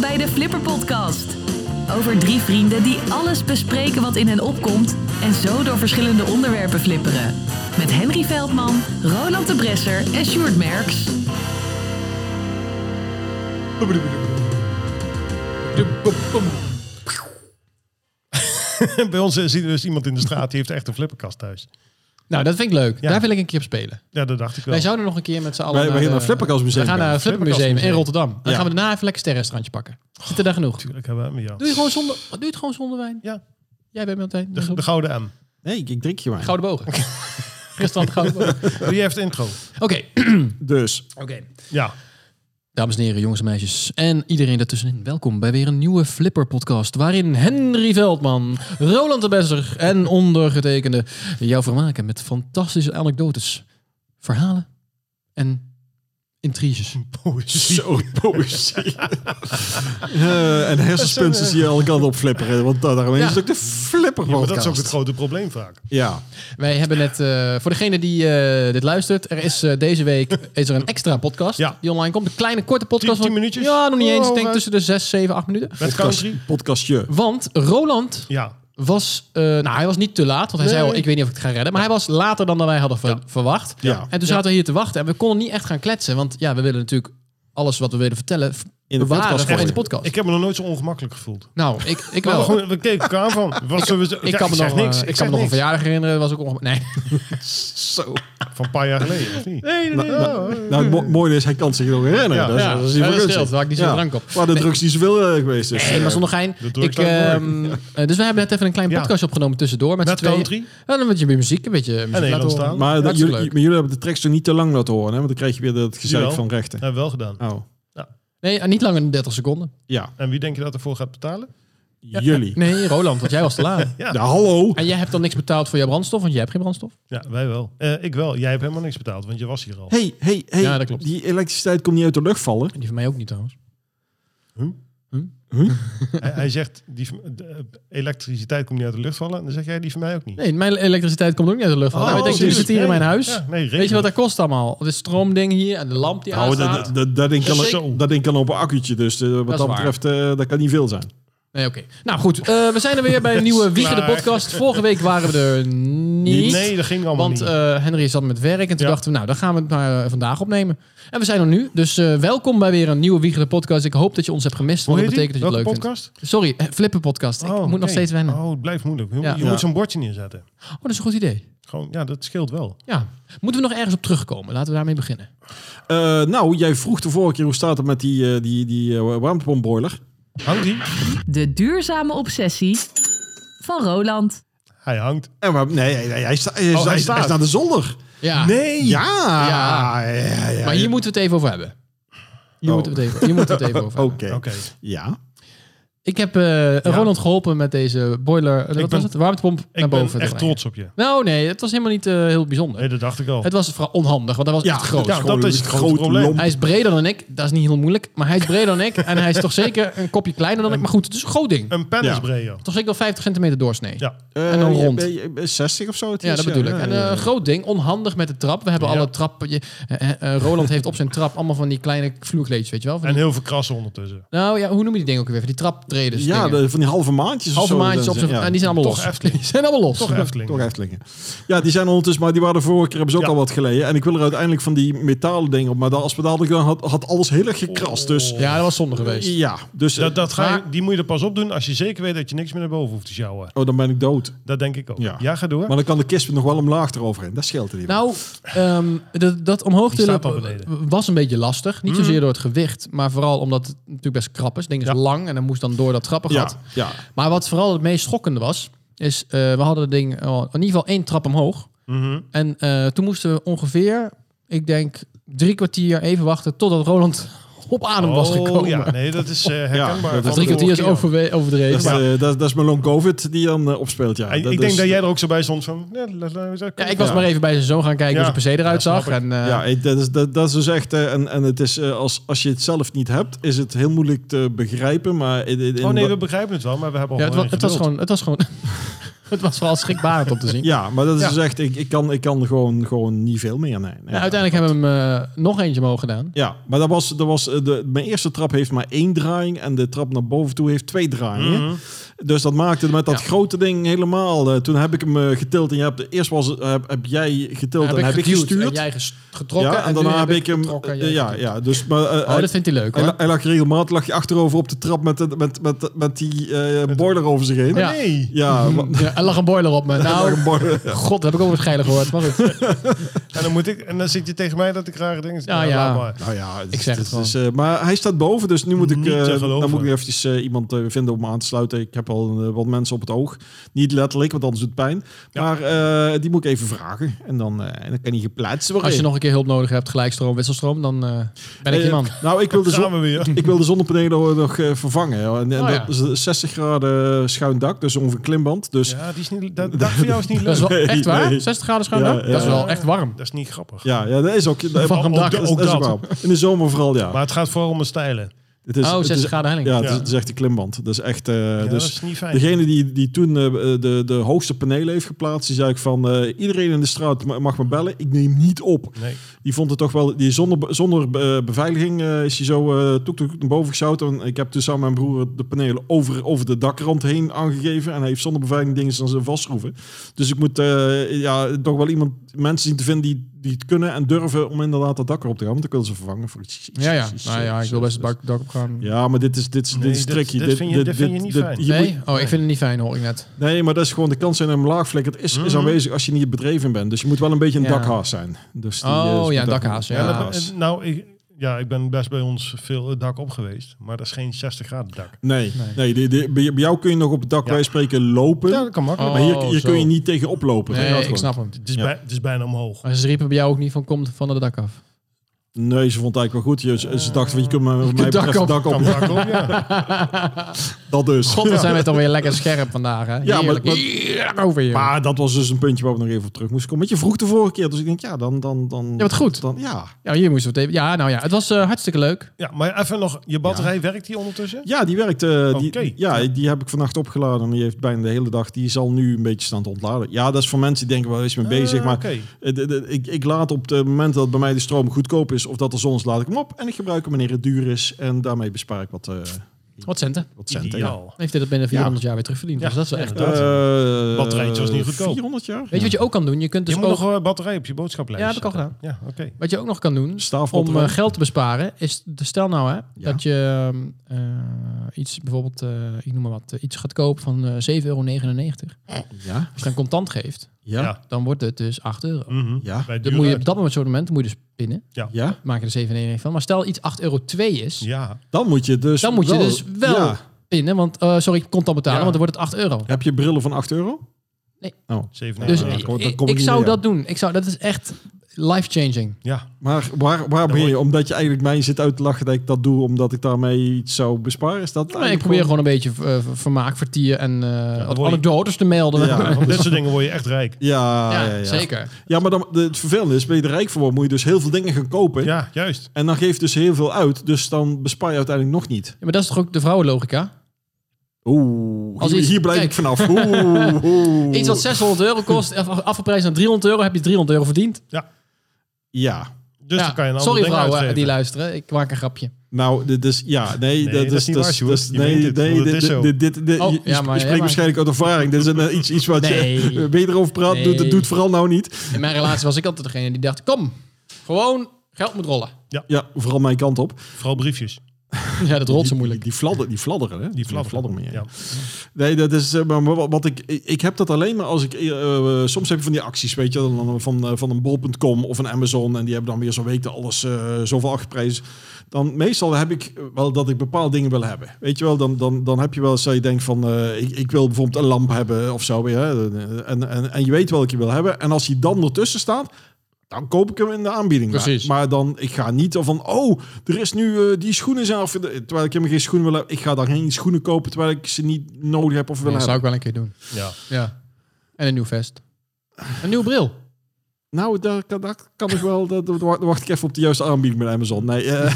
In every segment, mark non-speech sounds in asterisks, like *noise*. bij de Flipper Podcast. Over drie vrienden die alles bespreken wat in hen opkomt en zo door verschillende onderwerpen flipperen. Met Henry Veldman, Roland de Bresser en Sjoerd Merks. Bij ons eh, zien we dus iemand in de straat die heeft echt een flipperkast thuis. Nou, dat vind ik leuk. Ja. Daar wil ik een keer op spelen. Ja, dat dacht ik wel. Wij zouden nog een keer met z'n allen. Wij- wij gaan naar de- Flipperkast Museum eh, We gaan bij. naar het Flippermuseum in Flipperkast Rotterdam. Dan Ja. gaan we daarna even lekker sterrenstrandje pakken. Zit er daar genoeg? Natuurlijk hebben we hem, ja. Doe, je gewoon zonder, doe je het gewoon zonder wijn? Ja. Jij bent meteen. De, de gouden M. Nee, ik, ik drink je maar. Gouden bogen. *laughs* Restaurant Gouden bogen. Oké. Doe jij even het intro? *clears throat* Dus, Oké. Ja. Dames en heren, jongens en meisjes en iedereen daartussenin. Welkom bij weer een nieuwe Flipper podcast waarin Henry Veldman, Roland de Besser en ondergetekende jou vermaken met fantastische anekdotes, verhalen en intriges. zo poëzie. *laughs* Eh, en hersenspunten zie je alle kanten op flipperen. Want daar- daarom Ja. is het ook de flipper Ja, maar dat is ook het podcast. grote probleem vaak. Ja, Wij hebben net, eh, voor degene die eh, dit luistert, er is eh, deze *laughs* week is er een extra podcast Ja. die online komt. Een kleine, korte podcast. Tien- tien van- minuutjes? Ja, nog niet eens. Ik Oh, denk eh. tussen de 6, 7, 8 minuten. Met country? Podcast- podcastje. Want Roland Ja. was, eh, nou hij was niet te laat, want hij zei Nee. al, ik weet niet of ik het ga redden. Maar hij was later dan dat wij hadden ver- verwacht. Ja. En toen zaten we hier te wachten en we konden niet echt gaan kletsen. Want ja, we willen natuurlijk alles wat we willen vertellen in de de bewaren podcast voor in de gooien. podcast. Ik heb me nog nooit zo ongemakkelijk gevoeld. nou, ik, ik Maar wel. gewoon, we keken elkaar van. *laughs* Wat zullen we, ik ja, kan me zeg nog, niks. eh, zeg ik kan me nog een niks. verjaardag herinneren, dat was ook ongemak. Nee. Zo. Van een paar jaar geleden, of niet? nee, Nou, nou, nou, het mo- mooie is, hij kan zich nog herinneren. Ja. Dat is, Ja, dat is niet ja, voor dat gunstig. scheelt. Daar had ik niet zo'n drank op. Maar de drugs die zoveel eh, geweest is. Nee, maar eh, zonder gein. dat doe ik Ik, zo ehm, eh, dus we hebben net even een klein Ja. podcastje opgenomen tussendoor. Met, Met z'n tweeën. country? Ja, dan moet je weer muziek, een beetje muziek laten Nederlands horen. taal. maar, dat, Hartstikke jullie, leuk. maar jullie hebben de tracks toch niet te lang laten horen, hè? Want dan krijg je weer dat Jawel. gezeik van rechten. Dat hebben we Nou, wel gedaan. Oh, Nee, eh, niet langer dan 30 seconden. ja. En wie denk je dat ervoor gaat betalen? Jullie. Nee, Roland, want jij was te laat. Ja. Ja, hallo. *laughs* En jij hebt dan niks betaald voor jouw brandstof, want jij hebt geen brandstof. Ja, wij wel. Eh, ik wel. Jij hebt helemaal niks betaald, want je was *laughs* hier al. Hey, hey, hey. Ja, dat klopt. Die elektriciteit komt niet uit de lucht vallen. En die van mij ook niet trouwens. hij, hij zegt, die, van- de, eh, elektriciteit komt niet uit de lucht vallen. En dan zeg jij, die van mij ook niet. Nee, mijn elektriciteit komt ook niet uit de lucht. Oh, Nou, ik denk, jullie tuurlijk. zitten hier in mijn Nee. huis. Ja, nee, regen. Weet je wat dat kost allemaal? De stroomding hier en de lamp die Nou, aanstaat. dat, dat, dat, ding kan, Zeker. dat ding kan op een akkuutje, dus eh, wat is dat, waar. betreft, eh, dat kan niet veel zijn. Nee, oké. Nou goed, eh, we zijn er weer bij een *laughs* nieuwe Wiegen de klaar. podcast. Vorige week waren we er niet. Nee, dat ging allemaal Want niet. eh, Henry zat met werk en toen Ja. dachten we, nou, dan gaan we het maar eh, vandaag opnemen. En we zijn er nu, dus eh, welkom bij weer een nieuwe Wiegende Podcast. Ik hoop dat je ons hebt gemist, Hoe want dat heet die? betekent dat je het Welke leuk podcast? vindt. Sorry, eh, Flippen Podcast. ik Oh, moet nog nee. steeds wennen. Oh. Oh, het blijft moeilijk. Je, Ja. je Ja. moet zo'n bordje neerzetten. dat is een goed idee. Gewoon, ja, dat scheelt wel. Ja. Moeten we nog ergens op terugkomen? Laten we daarmee beginnen. Eh, nou, jij vroeg de vorige keer hoe staat het met die, eh, die, die eh, warmtepompboiler. Hangt hij? De duurzame obsessie van Roland. Hij hangt. En we, hebben- nee, nee, nee, hij, sta, hij, hij Oh, hij- staat. hij staat de zolder. Ja. Nee. Ja. ja, Ja. ja, ja. maar hier moeten we het even over hebben. Hier, Oh. moeten, we het even, hier moeten *laughs* we het even over Oké. hebben. Oké. Ja. Ik heb eh, Roland geholpen met deze boiler, eh, wat ben- was het? Warmtepomp naar Ik boven. ben te echt brengen. trots op je. Nou nee, het was helemaal niet eh, heel bijzonder. Nee, dat dacht ik al. Het was vooral onhandig, want dat was Ja, nou, echt groot. ja, gewoon dat is een het grote groot probleem. lomp. Hij is breder dan ik. Dat is niet heel moeilijk. Maar hij is breder dan ik. En hij is toch zeker een kopje kleiner dan ik. Maar goed, het is een groot ding. Een pen is Ja. breder. Toch zeker wel 50 centimeter doorsnee. Ja, Ja. Eh, En dan je- rond. je- je- je- 60 of zo. het is, dat bedoel ik. ja, En ja, eh, ja. een groot ding. Onhandig met de trap. We hebben Ja. alle trappen. je- eh, eh, Roland heeft op zijn trap allemaal van die kleine vloerkleedjes, weet je wel. Van En die- heel veel krassen ondertussen. nou ja, hoe noem je die ding ook weer? Van die traptreden. ja, de- van die halve maandjes Halve of zo. maandjes dan- op zijn... ja. En die zijn allemaal Toch los. Efteling. *laughs* Die zijn allemaal los. Toch Efteling. Toch Eftelingen. Ja, die zijn ondertussen, maar die waren de vorige keer hebben ze ook Ja. al wat geleden. En ik wil er uiteindelijk van die metalen dingen op. Maar dat- als we dat hadden gedaan, had, had alles heel erg gekrast. Oh. Dus Ja, dat was zonde geweest. ja, dus... Dat, dat ga je, Maar- die moet je er pas op doen als je zeker weet dat je niks meer naar boven hoeft te sjouwen. Oh, dan ben ik dood. Dat denk ik ook. Ja, Ja. ga door. Maar dan kan de kist nog wel omlaag eroverheen. Dat scheelt er niet. Nou, ehm, dat, dat omhoog Die tillen staat al beneden. Mhm. was een beetje lastig. Niet zozeer door het gewicht, maar vooral omdat het natuurlijk best krap is. Het ding is Ja. lang en dan moest dan door dat ja, trappengat. ja. Maar wat vooral het meest schokkende was, is eh, we hadden het ding al- in ieder geval één trap omhoog. Mhm. En eh, toen moesten we ongeveer, ik denk, drie kwartier even wachten totdat Roland op adem was Oh, gekomen. ja, nee, dat is eh, *laughs* herkenbaar. Ja, dat van is Drie de kwartier is vorige keer. overwe- Dat, overdreven. is, maar- eh, dat, dat is mijn long covid die dan eh, opspeelt. Ja. En Dat- ik dus- denk dat jij er ook zo bij stond van... Ja, laat- laat- laat- Ja, ik was maar even bij zijn zoon gaan kijken Ja. hoe zijn PC eruit Ja, snap zag. ik. En, eh, Ja, eh, dat is, dat, dat is dus echt... eh, en, en het is, eh, als, als je het zelf niet hebt, is het heel moeilijk te begrijpen. Maar in, in- in- Oh nee, we begrijpen het wel, maar we hebben al Ja, het, wa- wel het was geduld. gewoon. *laughs* Het was gewoon Het was vooral schrikbarend om te zien. Ja, maar dat is Ja. dus echt, ik, ik kan, ik kan gewoon, gewoon niet veel meer. Nee. Nou, uiteindelijk hebben we hem eh, nog eentje mogen gedaan. Ja, maar dat was, dat was eh, de, mijn eerste trap heeft maar één draaiing en de trap naar boven toe heeft twee draaiingen. Dus dat maakte met dat Mhm. Ja. grote ding helemaal. eh, toen heb ik hem eh, getild en je hebt, eerst was, het- heb, heb jij getild en heb ik geduwd gestuurd. En jij ges- getrokken. ja, en, nu daarna heb ik hem. getrokken en eh, jij ja, geduwd. ja, dus maar. eh, Oh, hij- dat vindt hij leuk hij, hoor. la- hij lag regelmatig lag je achterover op de trap met, met, met, met, met die eh, boiler over zich heen. Ja. Nee. Ja, *laughs* wa- Ja, er lag een boiler *laughs* op me. Nou, een boiler. god, dat heb ik ook wat geil gehoord. Maar goed. En dan, moet ik, en dan zit je tegen mij dat ik rare dingen zeg. Ja, ja. laat maar. Nou ja, het Ik is- zeg het het is, eh, maar hij staat boven, dus nu moet ik, Niet te eh, dan geloven. moet ik eventjes eh, iemand eh, vinden om aan te sluiten. Ik heb al eh, wat mensen op het oog. Niet letterlijk, want anders doet het pijn. Maar eh, die moet ik even vragen. En dan, eh, en dan kan hij geplaatst worden. Als je nog een keer hulp nodig hebt, gelijkstroom, wisselstroom, dan eh, ben ik je Eh, man. nou, ik wil de, Gaan zon, we weer. *laughs* ik wil de zonnepanelen nog eh, vervangen. En, en Oh, ja. dat is een 60 graden schuin dak, dus ongeveer een klimband. Dus ja, Ja, die is niet, dat, dat voor jou is *laughs* niet Dat leuk. is wel Nee, echt waar? nee. 60 graden schuin Ja, ook? Dat is ja. wel echt warm. Dat is niet grappig. ja, dat is ook... *laughs* Van een ook dak. de- dat is- dat is dat. warm. In de zomer vooral, ja. Maar het gaat vooral om de stijlen. het is, oh, het is- 60 graden helling. Ja, het is, Ja. het is echt een klimband. Dat is echt... eh, Ja, dus, dat is niet fijn. Degene die, die toen eh, de, de hoogste panelen heeft geplaatst, die zei ik van eh, iedereen in de straat ma- mag me bellen. Ik neem niet op. Nee. Die vond het toch wel, die zonder, be- zonder eh, beveiliging eh, is hij zo eh toek toek naar boven geschoten. En ik heb toen samen met mijn broer de panelen over, over de dakrand heen aangegeven. En hij heeft zonder beveiliging dingen aan zijn vastschroeven. Dus ik moet eh, ja, toch wel iemand, mensen zien te vinden die, die het kunnen en durven om inderdaad dat dak erop te gaan. Want ik wil ze vervangen voor iets. iets- Ja, ja. iets- Nou ja, ik wil best het dak- dak op gaan. Ja, maar dit is, dit is, Nee, dit is dit- tricky. dit vind je- dit vind je niet fijn. je moet- Nee? Oh, ik vind het niet fijn hoor ik net. Nee, maar dat is gewoon de kans zijn hem laag flikkert is, Mm. is aanwezig als je niet bedreven bent. Dus je moet wel een beetje een Ja. dakhaas zijn. Dus die, Oh, eh, is ja, met dat- dakhaas, ja. Ja, dat- dakhaas. nou, ik, ja, ik ben best bij ons veel het dak op geweest. Maar dat is geen 60 graden dak. Nee, nee. die, die- bij bij jou kun je nog op het dak Ja. wij spreken lopen. Ja, dat kan makkelijk. Oh, maar hier, hier zo. kun je niet tegen oplopen. Dat gaat Nee, ik gewoon. snap hem. Het, is Ja. bij- het is bijna omhoog. Maar ze riepen bij jou ook niet van komt van het dak af. Nee, ze vond het eigenlijk wel goed. Je, ze, ze dachten, van, je kunt *laughs* me wat mij Eh, dak betreft op. het dak op. Kan dak op, *laughs* ja. Dat dus. God, wat zijn we toch weer lekker scherp vandaag, hè? Ja, maar- maar- Heerlijk over hier. Maar dat was dus een puntje waar we nog even op terug moesten komen. Want je vroeg de vorige keer, dus ik denk, ja, dan... dan, dan ja, wat goed. Dan, ja. Ja, hier moesten we het even... Ja, nou ja, het was eh, hartstikke leuk. ja, maar even nog. Je batterij werkt die ondertussen? ja, die werkt. eh, die, Oké. ja, die heb ik vannacht opgeladen. En die heeft bijna de hele dag... Die zal nu een beetje staan te ontladen. Ja, dat is voor mensen die denken, waar is je mee bezig? Eh, maar oké. Eh, de- de- Ik, ik laat op het moment dat bij mij de stroom goedkoop is of dat er zon is, laat ik hem op. En ik gebruik hem wanneer het duur is. En daarmee bespaar ik wat, eh Wat centen. wat centen. ja. Ideaal. Heeft dit het binnen 400 jaar weer terugverdiend. Ja, Dus dat is wel echt... ja. Weet Eh, Batterijtje was niet goedkoop. 400 jaar? je wat je ook kan doen? Je kunt dus je moet ook... nog eh, batterij op je boodschaplijst. Ja, dat heb ik al zetten. Ja, oké. Wat je ook nog kan doen om Staafbatterij. eh, geld te besparen, is de- stel nou hè, dat je ehm, eh, iets bijvoorbeeld, eh, ik noem maar wat, eh, iets gaat kopen van eh, 7,99 euro. ja, Als je dan contant geeft, ja, ja. Ja. dan wordt het dus 8 euro. Mhm. Ja. Bij Dan moet je duurder- op dat moment, soort moment moet je dus pinnen. Maak je er 7,99 van. Maar stel iets 8,02 euro is, Ja, dan moet je dus dan moet je wel- dus wel Ja. pinnen. Want, eh, sorry, contant betalen, Ja. want dan wordt het 8 euro. Heb je brillen van 8 euro? Nee. Oh. 7 Dus Ja, dat ik, komt- dat ik- kom ik niet zou meer. dat doen. Ik zou, dat is echt life-changing. Ja, Maar waar, waar ben je? Omdat je eigenlijk mij zit uit te lachen dat ik dat doe omdat ik daarmee iets zou besparen? Is dat Maar ik eigenlijk probeer gewoon een beetje eh, vermaak, vertier en eh, wat word je- anekdotes te melden. Ja. van dit soort dingen word je echt rijk. Ja, Ja, ja, ja. zeker. Ja, maar dan, de- het vervelende is, ben je er rijk voor, worden, moet je dus heel veel dingen gaan kopen. Ja, juist. En dan geeft dus heel veel uit, dus dan bespaar je uiteindelijk nog niet. Ja, maar dat is toch ook de vrouwenlogica? Oeh, Als hier, iets- hier blijf kijk. ik *laughs* vanaf. Oeh, oeh. Iets wat 600 euro kost, af- afgeprijsd naar 300 euro, heb je 300 euro verdiend. Ja, Dus Ja, dan kan je een ander Sorry ding vrouwen uitgeven. die luisteren, ik maak een grapje. nou, dit is... Ja, nee, dat, Nee, dat is is niet dat waar, is- Sjoerd. dat is- Je Nee, meent dit, nee, want het dit, is zo. dit, dit, dit- Oh, je, ja, je maar- ja, maar- spreekt waarschijnlijk uit ervaring. Dit is een, iets, iets wat Nee. *laughs* je... Ben je erover praat, doet Nee. het doet vooral nou niet. In mijn relatie was ik altijd degene die dacht, kom, gewoon geld moet rollen. Ja, vooral mijn kant op. Vooral briefjes. Ja, dat rolt zo moeilijk. Die, die, fladder, die fladderen, hè? Die fladderen. meer. Ja. Nee, dat is. eh, Maar wat wat ik, ik ik heb dat alleen maar als ik. eh, eh, soms heb je van die acties, weet je, dan- dan van, eh, van een bol.com of een Amazon. En die hebben dan weer zo'n week dat alles eh, zoveel afgeprijsd. Dan meestal heb ik eh, wel dat ik bepaalde dingen wil hebben. Weet je wel, dan, dan, dan heb je wel eens dat je denkt van. eh, ik, ik wil bijvoorbeeld een lamp hebben of zo. Ja, en, en, en je weet welke je wil hebben. En als die dan ertussen staat. Dan koop ik hem in de aanbieding. Maar- Precies. Maar, dan, ik ga niet van, oh, er is nu eh, die schoenen zelf. Terwijl ik helemaal geen schoenen wil hebben. Ik ga dan geen schoenen kopen terwijl ik ze niet nodig heb of wil Nee, hebben. dat zou ik wel een keer doen. Ja. Ja. En een nieuw vest. Een nieuw bril. Nou, daar, kan- daar kan ik wel. Dat, dat wacht, wacht ik even op de juiste aanbieding met Amazon. Nee, eh.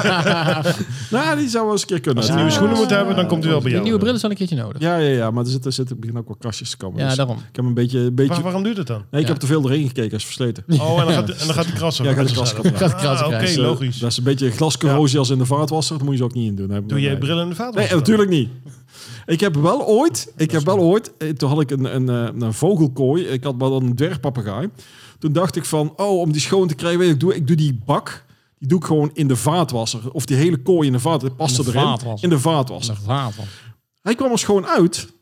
*laughs* nou, die zou wel eens een keer kunnen. Als je nieuwe schoenen moet hebben, dan komt hij wel bij Die jou. nieuwe brillen zijn een keertje nodig. Ja, Ja, ja, ja, maar er zitten, zitten beginnen ook wel kastjes te komen. dus daarom. Ik heb een beetje. Een beetje Waar- waarom duurt het *laughs* dan? nee, ik Ja. heb te veel erin gekeken, als versleten. Oh, en dan gaat, en dan gaat die krassen. Ja, *laughs* gaat die krassen kapot. Gaat die krassen Oké, krijgen. logisch. Dus, eh, Dat is een beetje glascorrosie als in de vaatwasser. Dat moet je ze ook niet in doen. Doe jij Nee. brillen in de vader? Nee, oh, natuurlijk niet. Ik heb wel ooit, ik heb wel ooit, eh, toen had ik een, een, eh, een vogelkooi, ik had wel een dwergpapegaai. Toen dacht ik van, oh, om die schoon te krijgen, weet je, ik doe, ik doe die bak, die doe ik gewoon in de vaatwasser. Of die hele kooi in de vaat, dat past In de erin. vaatwasser. In de vaatwasser. Hij kwam er schoon uit,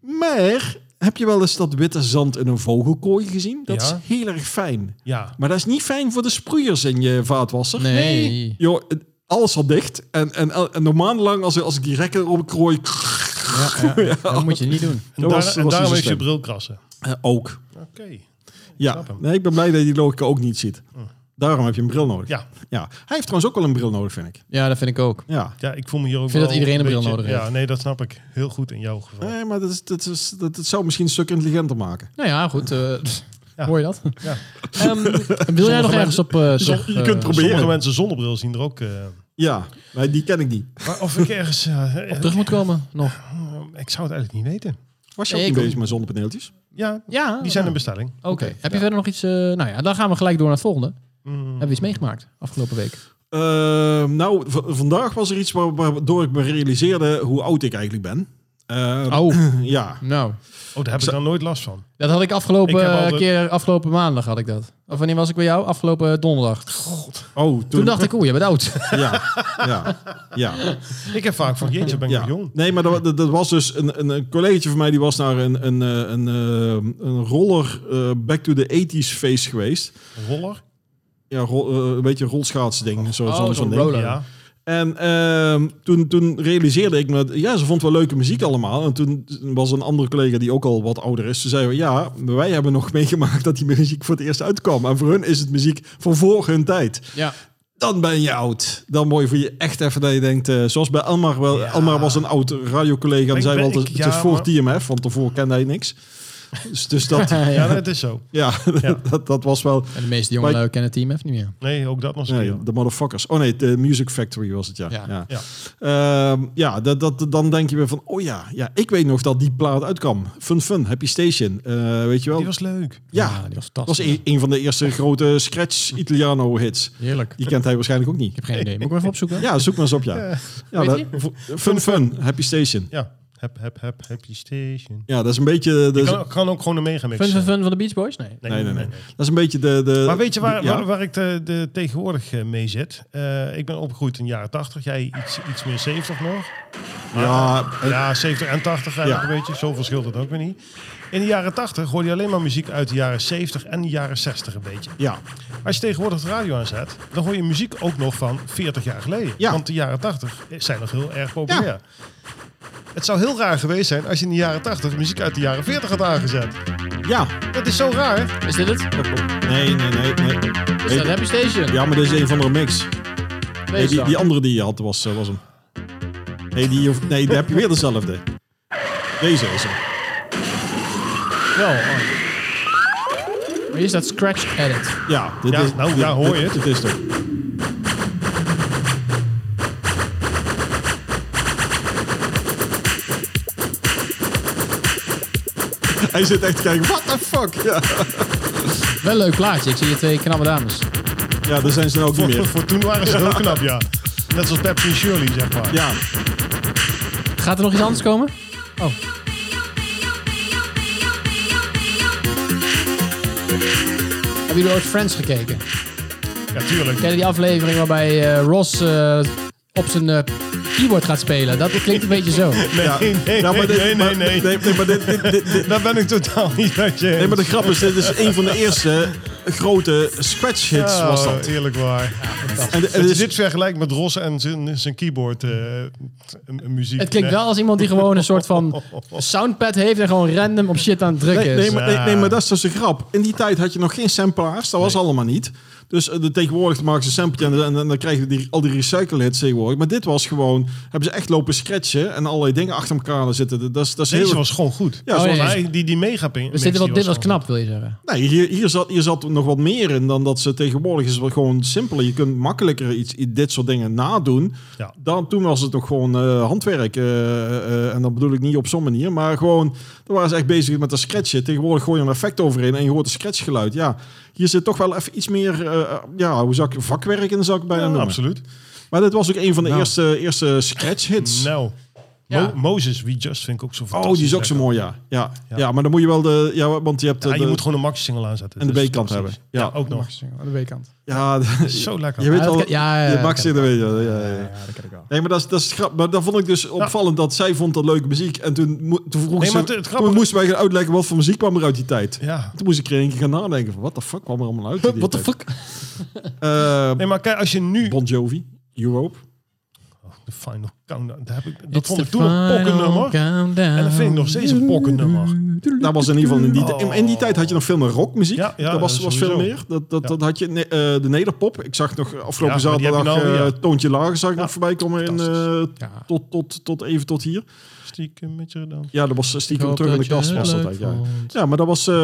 maar heb je wel eens dat witte zand in een vogelkooi gezien? Dat Ja. is heel erg fijn. Ja. Maar dat is niet fijn voor de sproeiers in je vaatwasser. Nee. Nee. Joh, het- alles zat dicht. En, en, el- en normaal lang, als, als ik die rekken erop krooi... ja, ja. Dat moet je niet doen. En, Dat daar- was- en was daarom niet heeft zo je slim. bril krassen. eh, ook. Oké. Ja, Snap hem. nee, ik ben blij dat je die logica ook niet ziet. Daarom heb je een bril nodig. Ja. ja. Hij heeft trouwens ook wel een bril nodig, vind ik. Ja, dat vind ik ook. Ja. ja, ik voel me hier ook Ik vind wel dat iedereen een bril beetje- nodig heeft. Ja, nee, dat snap ik. Heel goed in jouw geval. Nee, maar dat, is, dat, is, dat, dat zou misschien een stuk intelligenter maken. Nou ja, goed. eh Ja. *laughs* Hoor je dat? Ja. Ehm, wil jij nog ergens op... eh, terug, je eh, kunt proberen. Sommige mensen zonnebril zien er *laughs* ook... eh, Ja, nee, die ken ik niet. maar of ik ergens... eh, eh, terug moet komen? Nog. ik zou het eigenlijk niet weten. Was je ook Nee, niet ik- bezig met zonnepaneeltjes? Ja, Ja. die zijn in bestelling. Oké. Heb je verder nog iets... eh, nou ja, dan gaan we gelijk door naar het volgende. Mm, Hebben we iets meegemaakt afgelopen week? Ehm, nou, v- vandaag was er iets waar- waardoor ik me realiseerde hoe oud ik eigenlijk ben. Ehm, Oh, Ja. nou. Oh, daar heb ik dan nooit last van. Dat had ik afgelopen eh, Ik heb altijd- keer, afgelopen maandag had ik dat. Of wanneer was ik bij jou? Afgelopen donderdag. Oh, toen, Toen dacht ik, oeh, je bent oud. Ja, ja, ja. Ik heb vaak van, jeetje, ben ik nog jong. Nee, maar dat, dat, dat was dus een, een, een collega van mij die was naar een, een, eh, een, eh, een roller eh, Back to the 80s feest geweest. Roller? Ja, ro- eh, een beetje een rolschaatsding. Zo, Oh, zo'n zo'n zo'n ding. roller. Ja. En ehm, toen, toen realiseerde ik me, dat- ja, ze vond wel leuke muziek allemaal. En toen was een andere collega die ook al wat ouder is. Ze zei, ja, wij hebben nog meegemaakt dat die muziek voor het eerst uitkwam. En voor hun is het muziek van voor hun tijd. ja. *laughs* Dan ben je oud. Dan mooi voor je echt even dat je denkt, eh, zoals bij Almar. Wel, Ja. Almar was een oud radiocollega en Ik zei ben- wel, het, ik- het ja, is voor maar- TMF, want daarvoor kende hij niks. Dus, dus dat, ja, *laughs* Ja, dat is zo. Ja. *laughs* dat, dat was wel, En de meeste jongeren Maar- kennen Team F niet meer. Nee, ook dat nog eens. een nee, keer. de motherfuckers. Oh nee, de Music Factory was het, ja. Ja. Ja, ja. Ja. Ehm, ja dat, dat, dan denk je weer van, oh ja, ja, ik weet nog dat die plaat uitkwam. Fun Fun, Happy Station, eh, weet je wel. Die was leuk. ja, die was dat was fantastisch. een, een van de eerste grote Scratch Italiano hits. Heerlijk. Ik Die kent hij waarschijnlijk ook niet. heb geen idee. Moet ik hem even opzoeken? Ja, zoek maar eens op, ja. Ja. ja Weet dat- je? v- fun Fun, Happy Station. Ja. Heb, heb, heb, happy station. Ja, dat is een beetje de, Je kan, kan ook gewoon een megamix. Fun, fun, zijn. fun van de Beach Boys? Nee. Nee, Dus- Nee, nee, nee. dat is een beetje de, de Maar weet je waar, ja. waar, waar ik de, de tegenwoordig eh, mee zit? Eh, ik ben opgegroeid in de jaren 80. Jij iets, iets meer 70 nog. ja, eh, Ja, 70 en 80 eigenlijk Ja. een beetje. Zo verschilt het ook weer niet. In de jaren 80 hoorde je alleen maar muziek uit de jaren 70 en de jaren 60 een beetje. ja, Als je tegenwoordig de radio aanzet, dan hoor je muziek ook nog van 40 jaar geleden. Ja. Want de jaren 80 zijn nog heel erg populair. Het zou heel raar geweest zijn als je in de jaren 80 muziek uit de jaren 40 had aangezet. ja. Dat is zo raar. Is dit het? Nee, nee, nee, nee. Is dat Nee, Happy Station? Ja, maar dit is een van de mix. Nee, Deze die, dan. die andere die je had was, eh, was hem. Nee, die, hoeft- nee, daar heb je weer dezelfde. Deze is hem. Wel. Oh. Maar Hier staat Scratch Edit. Ja, dit Ja, is, nou, dit- daar hoor je dit- het. Dit is het. Hij zit echt te kijken, what the fuck? Ja, Wel een leuk plaatje. Ik zie je twee knappe dames. ja daar zijn ze nou ook niet Voor, meer. voor toen waren ze heel knap, ja. Net zoals Pepsi en Shirley, zeg maar. Ja, Gaat er nog iets anders komen? Oh. Hebben jullie ooit Friends gekeken? Ja, tuurlijk. Ken je die aflevering waarbij eh, Ross eh, op zijn eh, keyboard gaat spelen? Dat klinkt een beetje zo. Nee, ja. nee, nee, Ja, maar dit- nee, nee, maar- nee. nee, maar dit- dit- dit- dit- Daar ben ik totaal niet uit je Nee, eens. maar de grap is, dit is een van de eerste grote scratch hits Oh, was dat. eerlijk waar. En, de- en Het de- is dit vergelijkt met Ross en zijn, zijn keyboard eh, m- m- muziek. Het klinkt Nee. wel als iemand die gewoon een soort *laughs* van soundpad heeft en gewoon random op shit aan het drukken Nee, is. nee, maar, nee, Ja. nee, maar dat is dus een grap. In die tijd had je nog geen samplaars, dat was allemaal niet. Dus eh, de, tegenwoordig maken ze een sampletje en, en, en dan krijgen we die, al die recycle hits tegenwoordig. Maar dit was gewoon, hebben ze echt lopen scratchen en allerlei dingen achter elkaar zitten. Dat, is, dat is Deze heel... was gewoon goed. Ja, Oh, zoals- ja, ja. Maar die, die megaping. dus dit was, dit was knap, wil je zeggen. Nee, Nou, hier, hier, zat, hier zat nog wat meer in dan dat ze tegenwoordig is. wel Gewoon simpeler. Je kunt makkelijker iets, i- dit soort dingen nadoen. Ja. Dan, toen was het toch gewoon eh, handwerk. eh, eh, en dat bedoel ik niet op zo'n manier. Maar gewoon, dan waren ze echt bezig met dat scratchen. Tegenwoordig gooi je een effect overheen en je hoort een scratchgeluid. Ja, hier zit toch wel even iets meer eh, eh, ja, hoe zou ik, vakwerk in, zou ik het bijna noemen. absoluut. Maar dit was ook een van de Nou. eerste, eerste scratch hits. Nou, Ja. Mo- Moses We Just vind ik ook zo Oh, fantastisch. die is ook zo lekker. mooi, ja. Ja, ja. Ja. maar dan moet je wel de... Ja, want je hebt eh, Ja, de, je moet gewoon een maxi-single aanzetten. en de Dus B-kant hebben. fantastisch. Ja. Ja, ook nog. Mag zingen, aan de weekend. Ja, *laughs* Zo lekker. Je weet Ja, dat wel, ken- ja, ja, je ja, mag ken ze weet je wel, ja, ja, ja. Ja, dat ken ik wel. Nee, maar dat is, dat is grap. Maar dan vond ik dus opvallend dat zij vond dat leuke muziek. En toen, mo- toen vroeg Nee, ze, maar het- het grappige- toen moesten wij gaan uitleggen wat voor muziek kwam er uit die tijd. Ja. Toen moest ik er een keer gaan nadenken van, wat de fuck kwam er allemaal uit? in die What the tijd? fuck? Eh, Nee, maar kijk, als je nu... bon Jovi, Europe. De Final Countdown, daar heb ik, dat It's vond the ik toen een final pokkennummer. countdown. En dat vind ik nog steeds een pokkennummer. Dat was in ieder geval in die, Oh. in, in die tijd had je nog veel meer rockmuziek. Ja, ja, dat was, eh, was veel sowieso. meer. Dat, dat, Ja. dat had je ne- eh, de nederpop. Ik zag nog afgelopen Ja, maar die heb zaterdag je nou, eh, ja. Toontje Lager zag ik Ja, nog voorbij komen in, fantastisch. eh, Ja. tot, tot, tot even tot hier. Stiekem met je dan. Ja, dat was Ik stiekem hoop terug in de dat je kast het was dat leuk eigenlijk. Ja. vond. Ja, maar dat was. eh,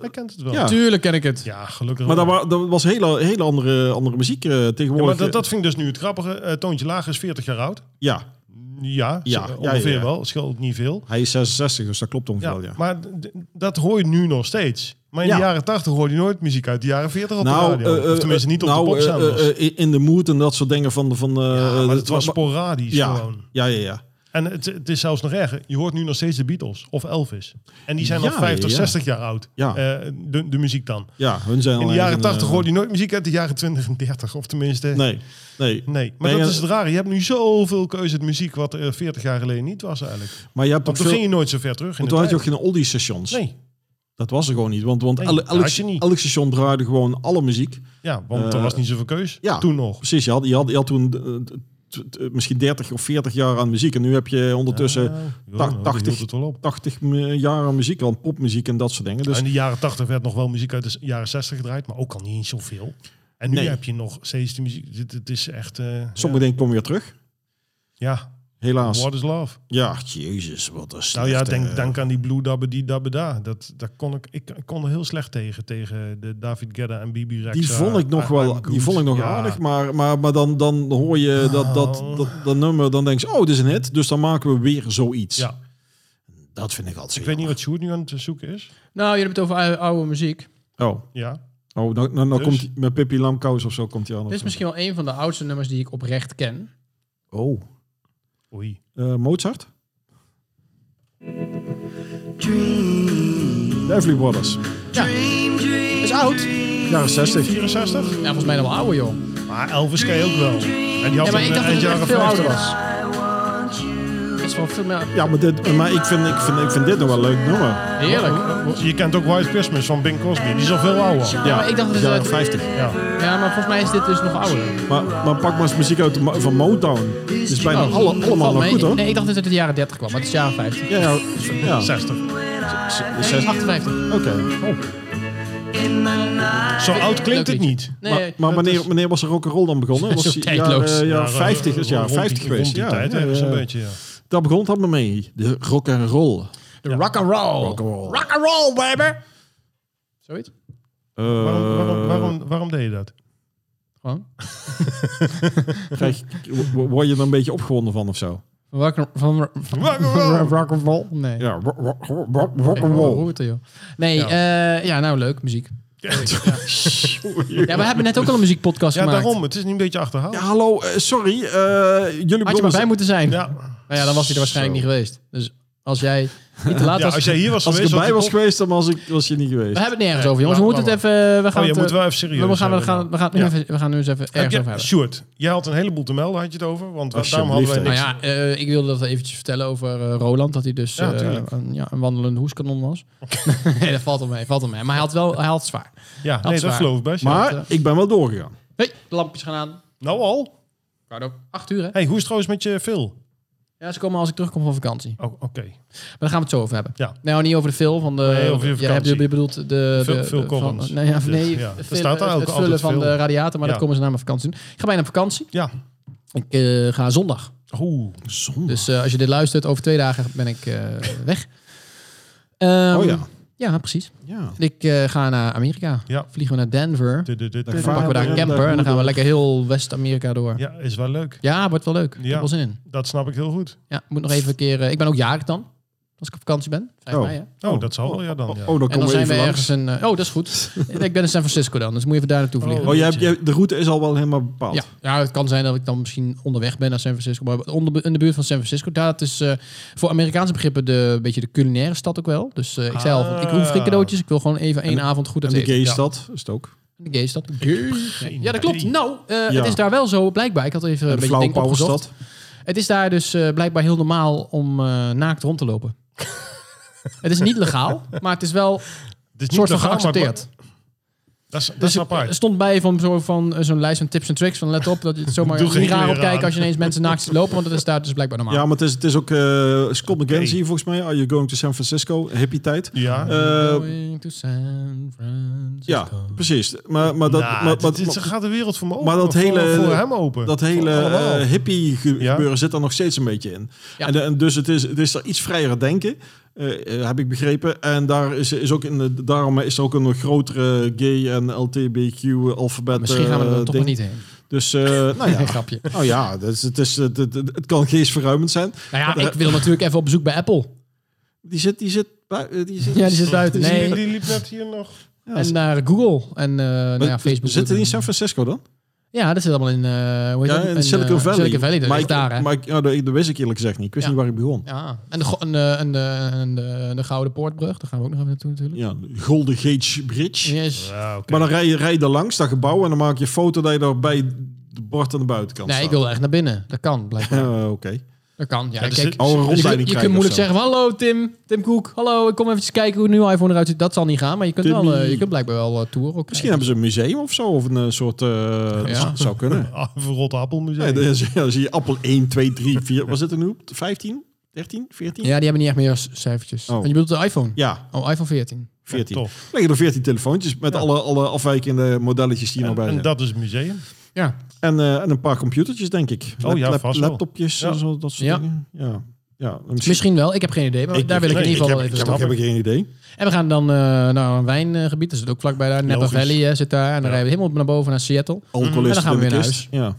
Hij kent het wel. ja. Tuurlijk ken ik het. Ja, gelukkig Maar wel. dat, wa- dat was hele, hele andere, andere muziek eh, ja, tegenwoordig. maar dat, dat vind ik dus nu het grappige. Eh, Toontje Lager is 40 jaar oud. Ja, Ja, Ja, ja ja, ongeveer ja. wel. Het scheelt niet veel. hij is 66, dus dat klopt ongeveer. Ja, wel, Ja, Maar d- d- dat hoor je nu nog steeds. Maar in Ja. de jaren 80 hoorde je nooit muziek uit de jaren 40 Nou, op de radio. eh, eh, of tenminste niet op nou, de popzenders. eh, eh, eh, in de mood en dat soort dingen van. van eh, ja, maar eh, het was sporadisch ja, gewoon. ja, ja, ja. En het, het is zelfs nog erger. Je hoort nu nog steeds de Beatles of Elvis. En die zijn Ja, al 50, ja. 60 jaar oud. Ja. Eh, de, de muziek dan. Ja, hun zijn In de al jaren eigen, 80 eh, hoorde je nooit muziek uit de jaren 20 en 30. Of tenminste... Nee, nee. Nee, maar Nee, dat ja, is het rare. Je hebt nu zoveel keuze uit muziek wat er 40 jaar geleden niet was eigenlijk. Maar je hebt ook Want toen veel. ging je nooit zo ver terug in want de toen had je ook tijd. geen oldie stations. Nee, Dat was er gewoon niet. Want, want Nee, elk, dat had je elk- niet. elk station draaide gewoon alle muziek. ja, want er Eh, was niet zoveel keus. ja. Toen nog. Precies, je had, je had, je had toen eh, t- t- misschien 30 of 40 jaar aan muziek. En nu heb je ondertussen Ja, joh, ta- nou, die 80 hield het wel op. 80 me- jaar aan muziek, aan popmuziek en dat soort dingen. Dus in de jaren 80 werd nog wel muziek uit de s- jaren 60 gedraaid, maar ook al niet eens zoveel. En nu Nee. heb je nog steeds die muziek. Het, het is echt. eh, sommige dingen komen weer terug. ja, ja, Helaas. What is Love? Ja, jezus, wat een Nou ja, slechte- denk, denk aan die Blue Dabba die Dabba Da. Dat, dat kon ik, ik, ik kon er heel slecht tegen. Tegen de David Gedda en Bibi Rexa. Die vond ik nog I- wel, I'm die Good. vond ik nog eh, Ja. aardig, maar, maar, maar dan, dan hoor je dat, dat, dat, dat nummer, dan denk je, oh, dit is een hit, dus dan maken we weer zoiets. Ja. Dat vind ik altijd zo Ik weet niet jammer. wat Sjoerd nu aan het zoeken is. Nou, jullie hebben het over oude, oude muziek. Oh, Ja. oh dan, dan, dan Dus? komt die- met Pippi Lamkous of zo komt hij aan. of Dit is zo. misschien wel een van de oudste nummers die ik oprecht ken. Oh, Oei. eh, Mozart? The Everly Brothers, Is oud. jaren 60. 64? Ja, volgens mij nog wel ouder, joh. Maar Elvis ken je ook wel. En die had Ja, maar een ik dacht eind dat het jaren echt veel ouder 50. was. Het is wel veel meer... Ja, maar, dit, maar ik, vind, ik, vind, ik vind dit nog wel een leuk nummer. Heerlijk. Je kent ook White Christmas van Bing Crosby. Die is al veel ouder. maar ik dacht dat het jaren uit- 50. Ja. Ja, maar volgens mij is dit dus nog ouder. Maar, maar pak maar eens muziek uit de Mo- van Motown. Het is bijna alle, allemaal Valt nog mee. goed hoor. Oh, Nee, ik dacht dat het uit de jaren 30 kwam, maar het is jaren 50. Ja, ja. ja. 60. de zes- Nee, 58. Oké. Oh. Zo oud klinkt het liedje. niet. Nee, Maar, maar het wanneer, is- wanneer was er rock and roll dan begonnen? Was *laughs* Zo die- tijdloos. Ja, eh, ja, Ja, 50 is ja, rond die- 50 geweest. Rond die Ja, tijd ja, ergens ja. een beetje, ja. Eh, Daar begon dat me mee. De rock and roll. De rock and roll. Rock and roll. Rock and roll, baby. Zoiets? Eh, Waarom, waarom, waarom, waarom deed je dat? Gewoon. krijg- wo- word je er een beetje opgewonden van of zo? Rock and, van, van, *laughs* Rock and roll. rock and roll? Nee. Ja, rock, rock, rock, rock Nee, and hoe- roll. hoe het er, joh. Nee, ja. Ja. ja, nou leuk, muziek. Ja, we hebben net ook al een muziekpodcast Ja, gemaakt. daarom. Het is niet een beetje achterhaald. Ja, hallo, eh, sorry. eh, jullie Had je maar bij begonnen- moeten zijn. Ja. Nou ja, dan was hij er waarschijnlijk Zo. niet geweest. Dus Als jij niet *laughs* te laat Ja, was. als jij hier was Als ik geweest... erbij had was je kop- geweest, dan was, ik, was je niet geweest. We hebben het nergens Nee, over, jongens. We laat- moeten het laat even. We gaan Oh, je het, moet eh, wel even serieus we gaan, we hebben gaan, dan. we gaan, het nu Ja. even, we gaan nu eens even Heb ergens jij- over hebben. Sjoerd, jij had een heleboel te melden, had je het over? Want we- daarom hadden wij Alsjeblieft, niks. Nou ja, eh, ik wilde dat eventjes vertellen over eh, Roland. Dat hij dus Ja, eh, tuurlijk. een, ja, een wandelende hoeskanon was. *laughs* nee, dat valt om mee, valt om mee. Maar hij had wel hij had het zwaar. Ja, is nee, dat waar. geloof ik best. ja. maar ja. ik ben wel doorgegaan. Hey, de lampjes gaan aan. Nou al? Ricardo, acht uur hè? hey, hoe is het trouwens met je Phil? Ja, ze komen als ik terugkom van vakantie. Oh, oké. Maar daar gaan we het zo over hebben. Ja. Nou, niet over de film van de... Nee, over je Ja, heb je, vakantie. je bedoelt de... de Phil- de- Phil van- Collins. nee, ja, Dit, nee ja. het Er staat daar het- ook Het vullen altijd van Phil. de radiator, maar Ja. dat komen ze na mijn vakantie doen. Ik ga bijna op vakantie. Ja. Ik eh, ga zondag. Oeh. Zonde. Dus eh, als je dit luistert, over twee dagen ben ik eh, weg. Ehm, oh ja. Ja, precies. ja. Ik eh, ga naar Amerika. Ja. Dus Vliegen we naar Denver. De- de- de- de- Dan Dan pakken we daar een Vader en camper en dan gaan we moeder. lekker heel West-Amerika door. Ja. Ja, is wel leuk. wordt wel leuk. Ik Ja. heb wel zin in. Dat snap ik heel goed. Ja, moet nog even een keer... eh, ik ben ook jarig dan. Als ik op vakantie ben. Vijf Oh. mei, hè? Oh, dat zal wel, ja dan. Ja. Oh, dan En dan komen we zijn we even ergens langs. een. eh, oh, dat is goed. ik ben in San Francisco dan, dus moet je even daar naartoe vliegen. een- Oh, jij hebt, jij- de route is al wel helemaal bepaald. ja. ja, het kan zijn dat ik dan misschien onderweg ben naar San Francisco. Maar onder, in de buurt van San Francisco, dat is eh, voor Amerikaanse begrippen de, een beetje de culinaire stad ook wel. Dus eh, ik zei al, van, ik hoef geen cadeautjes. Ik wil gewoon even één avond goed En uit de eten. gay stad is het ook. De gay stad. Geen Ja, dat klopt. idee. Nou, eh, Ja. het is daar wel zo, blijkbaar. Ik had even een En de beetje flauwe ding opgezocht. powerstad. Het is daar dus eh, blijkbaar heel normaal om eh, naakt rond te lopen. het is niet legaal, maar het is wel Het is niet soort van legaal, maar- geaccepteerd. Dat is, dat Dus is ik, er apart. stond bij van zo'n van, eh, zo'n lijst van tips en tricks. Van let op dat je *laughs* het zomaar Doe niet geen raar kleren opkijkt aan. als je ineens mensen naakt ziet lopen. Want dat is daar dus blijkbaar normaal. Ja, maar het is, het is ook eh, Scott McGancy Oké. volgens mij. Are you going to San Francisco? Hippie tijd. Ja. Eh, Going to San ja, Francisco. precies. Maar, maar dat, Nou, maar, dit- maar- dit- ze gaat de wereld voor me open. maar dat voor- hele- Voor hem open. dat Voor hele allemaal. eh, hippie ge- Ja. gebeuren zit daar nog steeds een beetje in. Ja. En, de- en dus het is, het is daar iets vrijer denken, eh, eh, heb ik begrepen. En daar is, is ook in de, daarom is er ook een nog grotere gay en LTBQ alfabet. Misschien gaan we er eh, dan toch maar ding. niet heen. Dus eh, *laughs* nou ja. Geen grapje. Nou ja, dus het, is, het, het, het kan geestverruimend zijn. Nou *laughs* ja, ik wil natuurlijk even op bezoek bij Apple. Die zit, die zit, bui- die zit Ja, die zit buiten. Dus die- Nee. Die, liep net hier nog. Ja, En naar Google en eh, nou ja, Facebook. Zit die in San Francisco dan? Ja, dat zit allemaal in, eh hoe heet Ja, dat? in, Silicon eh, Valley. Silicon Valley, dat maar ligt ik, daar, hè? Maar ik, ja, dat, dat wist ik eerlijk gezegd niet. Ik wist Ja. niet waar ik begon. Ja, en de, go- en, eh, en, de, en de, en de Gouden Poortbrug, daar gaan we ook nog even naartoe natuurlijk. Ja, Golden Gate Bridge. Yes. Ja, oké. Maar dan rij je, rij je er langs, dat gebouw, en dan maak je een foto dat je daar bij de bord aan de buitenkant Nee, ik staat. wil echt naar binnen. Dat kan, blijkbaar. Eh, Oké. Dat kan, ja. Ja, dus kijk, dit- Oh, een je, rondleiding kunt- je kunt krijgen of moeilijk zo. zeggen, van, hallo Tim, Tim Koek, hallo, ik kom eventjes kijken hoe een nieuwe iPhone eruit ziet. Dat zal niet gaan, maar je kunt, wel, Timmy. eh, je kunt blijkbaar wel tour toeren. Ook Misschien hebben ze een museum of zo, of een eh, soort... eh, Ja. dat zou *laughs* kunnen. Ah, een verrotte appelmuseum. Nee, dan, zie je, dan zie je appel 1, 2, 3, 4... Wat zit er nu op? 15? 13? 14? Ja, die hebben niet echt meer c- cijfertjes. Oh. Want je bedoelt de iPhone? Ja, Oh, iPhone 14. 14. Ja, Dan tof. liggen er 14 telefoontjes met alle, alle afwijkende modelletjes die er En, nou bij en zijn. dat is het museum. Ja. En, eh, en een paar computertjes, denk ik. Oh ja, vast wel. Laptopjes Ja. en zo, dat soort Ja. dingen. Ja. Ja, misschien... Misschien wel, ik heb geen idee, maar Ik- daar wil ik nee, in ieder geval ik wel Ik even heb, ik stappen. heb geen idee. En we gaan dan eh, naar een wijngebied, dat zit ook vlakbij daar. Napa Logisch. Valley eh, zit daar. En dan rijden we helemaal naar boven, naar Seattle. Alcohol En is dan gaan in we de weer kist. Ja.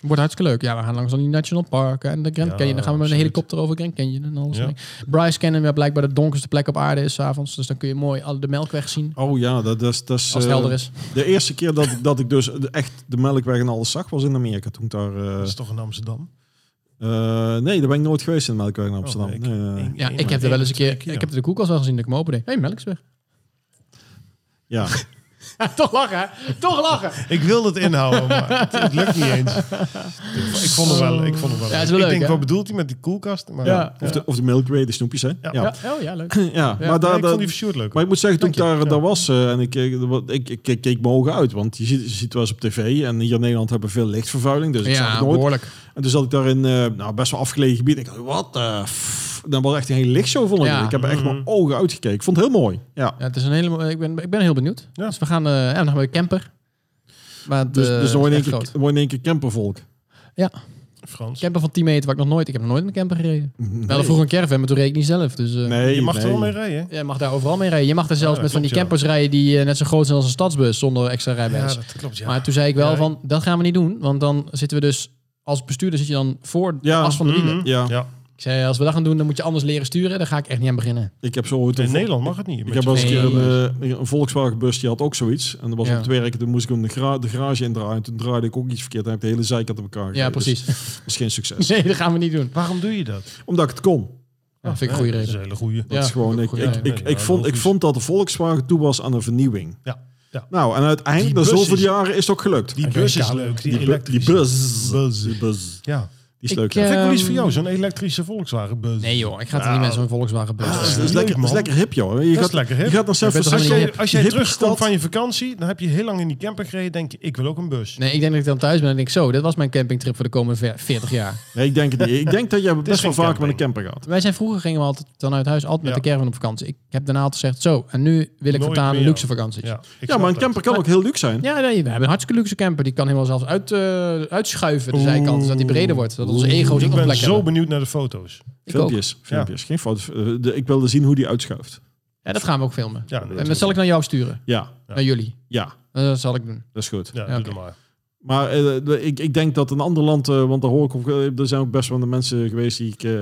Wordt hartstikke leuk. Ja, we gaan langs al die national parken en de Grand Ja, Canyon. Dan gaan we met absoluut. een helikopter over Grand Canyon en alles. Ja. mee. Bryce Canyon, waar blijkbaar de donkerste plek op aarde is 's avonds. Dus dan kun je mooi alle- de melkweg zien. Oh ja, dat, dat is... Dat is Als het eh, helder is. De eerste keer dat, ik- dat ik dus de- echt de melkweg en alles zag, was in Amerika. Toen ik daar... eh, Dat is toch in Amsterdam? eh, nee, daar ben ik nooit geweest in de melkweg in Amsterdam. Oh, ik- nee, nee, nee. ik- Ja, Eén ik maar heb er wel eens een één, keer... twee Ik heb er de koelkast wel gezien dat ik me opende. Hé, hey, melk is weg. *laughs* *laughs* Ja. Toch lachen, hè? Toch lachen! Ik wil het inhouden, maar *laughs* het, het lukt niet eens. Ik vond het wel, ik vond het wel Ja, het is wel ik leuk, denk, hè? wat bedoelt hij met die koelkast? Maar Ja. Of, de, of de Milkway, de snoepjes, hè? Ja. ja. Ja, oh ja, *laughs* leuk. Ja, Ja, maar, Ja, daar, ik vond die daar- van Sjoerd leuk. maar ik moet zeggen, toen ik Dank daar, daar was eh, en ik, eh, wat- ik, ik, ik keek mijn ogen uit, want je ziet, je ziet wel eens op tv en hier in Nederland hebben we veel lichtvervuiling, dus ik zag Ja, het nooit. behoorlijk. En toen zat ik daar in eh, nou, best wel afgelegen gebied. Ik dacht, wat de f- Dan was echt een hele lichtshow vond ik. Ja. Ik heb echt Mm. mijn ogen uitgekeken. Ik vond het heel mooi. Ja. Ja, het is een hele... mo- Ik ben, ik ben heel benieuwd. Ja. Dus we gaan... eh ja, dan gaan we de camper. Maar het, Dus, eh, dus dan word je is in één echt groot. keer, word je in één keer campervolk. Eh, Frans. Camper van 10 meter, waar ik nog nooit... Ik heb nog nooit in een camper gereden. Nee. Wel vroeger een caravan, maar toen reed ik niet zelf. Dus, eh, nee, je mag er wel nee. mee rijden. Je mag daar overal mee rijden. Je mag er zelfs Ja, met van die klopt, ja. campers rijden die eh, net zo groot zijn als een stadsbus zonder extra Ja, rijbewijs. dat klopt. Ja. Maar toen zei ik wel Ja. van, dat gaan we niet doen. Want dan zitten we dus, als bestuurder zit je dan voor de Ja. as van de wielen. Mhm. Ja, Ja. Ik zei, als we dat gaan doen, dan moet je anders leren sturen. Daar ga ik echt niet aan beginnen. *laughs* ik heb zo ooit een In vo- Nederland mag het niet. Ik met heb je- wel eens een keer Nee. een, eh, een Volkswagenbus, die had ook zoiets. En dat was Ja. op het werk, toen moest ik hem de, gra- de garage indraaien. Toen draaide ik ook iets verkeerd en heb ik de hele zijkant op elkaar ja, gereden. Dus precies. *laughs* dat is geen succes. Nee, dat gaan we niet doen. Waarom doe je dat? Omdat ik het kon. Oh, Ja, vind ik een goede dat is reden. een hele goede. Dat Ja, is gewoon, ik, goed, ik, ja, nee, ik, nee, ik, vond, ik logisch. vond dat de Volkswagen toe was aan een vernieuwing. Ja, ja. Nou, en uiteindelijk, Die na bus zoveel is- jaren, is het ook gelukt. Die bus is leuk, die, bu- elektrische. Die bus. Buzz. Die bus. Ja. Die is Ik, leuk. eh, Vind ik wel iets Ehm, voor jou, zo'n elektrische Volkswagen bus. Nee joh, ik ga Nou. er niet met zo'n Volkswagen bus. *laughs* dat, is, leuk, lekker, dat is man. lekker hip, joh. Je is gaat, lekker hip. Je gaat naar San Je bent toch Dus Als Francisco. helemaal jij, niet als jij Hip terugkomt stad. van je vakantie, dan heb je heel lang in die camper gereden. Denk je, ik wil ook een bus. Nee, ik denk dat ik dan thuis ben en denk zo, dit was mijn campingtrip voor de komende ver- 40 jaar. Nee, ik denk het niet. Ik denk dat jij best wel geen vaak met een camper gaat. Wij zijn vroeger gingen we altijd dan uit huis, altijd met Ja. de caravan op vakantie. Ik heb daarna altijd gezegd, zo, en nu wil ik Nooit voortaan meer. luxe vakanties. Ja, Ja, ik Ja, snap maar een dat. camper kan ook heel luxe zijn. nee, we hebben een hartstikke luxe camper. Die kan helemaal zelfs uit, eh, uitschuiven de zijkant, zodat die breder wordt. Dat onze ego's Ik ook een ben plek zo hebben. benieuwd naar de foto's. Ik ook. Filmpjes. filmpjes. Geen foto's. Eh, de- Ik wilde zien hoe die uitschuift. Ja, dat gaan we ook filmen. Ja, nee, en dat zal ik naar jou sturen, Ja, Ja. naar jullie. ja, Dat zal ik doen. dat is goed. ja, Ja, doe oké. dat maar. Maar eh, de- ik, ik denk dat een ander land, eh, want daar hoor ik ook, eh, er zijn ook best wel de mensen geweest die ik eh,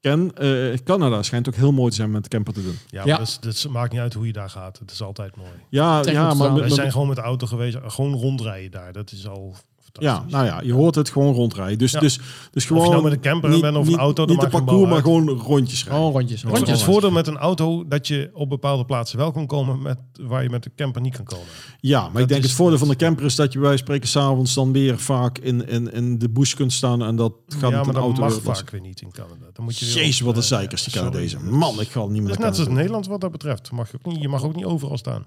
ken. Eh, Canada schijnt ook heel mooi te zijn met de camper te doen. Ja, Ja. maar Dat, is- dat is- maakt niet uit hoe je daar gaat. Het is altijd mooi. Ja, Trek ja op maar straat. met- Wij met- zijn gewoon met de auto geweest. Gewoon rondrijden daar. Dat is al fantastisch. ja, nou ja, je hoort het gewoon rondrijden. Dus, Ja. dus, dus of gewoon. je nou met een camper niet- bent of niet- een auto. dat Niet een maakt geen parcours, bal maar uit. Oh, gewoon rondjes rijden. Gewoon rondjes. Het is rondjes. Het voordeel met een auto dat je op bepaalde plaatsen wel kan komen met, waar je met de camper niet kan komen. Ja, maar ik denk is- het voordeel van de camper is dat je bij wijze van spreken s'avonds dan weer vaak in, in, in de bush kunt staan. En dat gaat ja, met maar een dat auto mag weer oplossen. vaak weer niet in Canada. Dan moet je weer Jezus, op, wat een eh, zeikers die sorry. Canadezen. Man, ik ga niet meer Dat is naar net als Canada. Nederland wat dat betreft. Mag je, ook niet, je mag ook niet overal staan.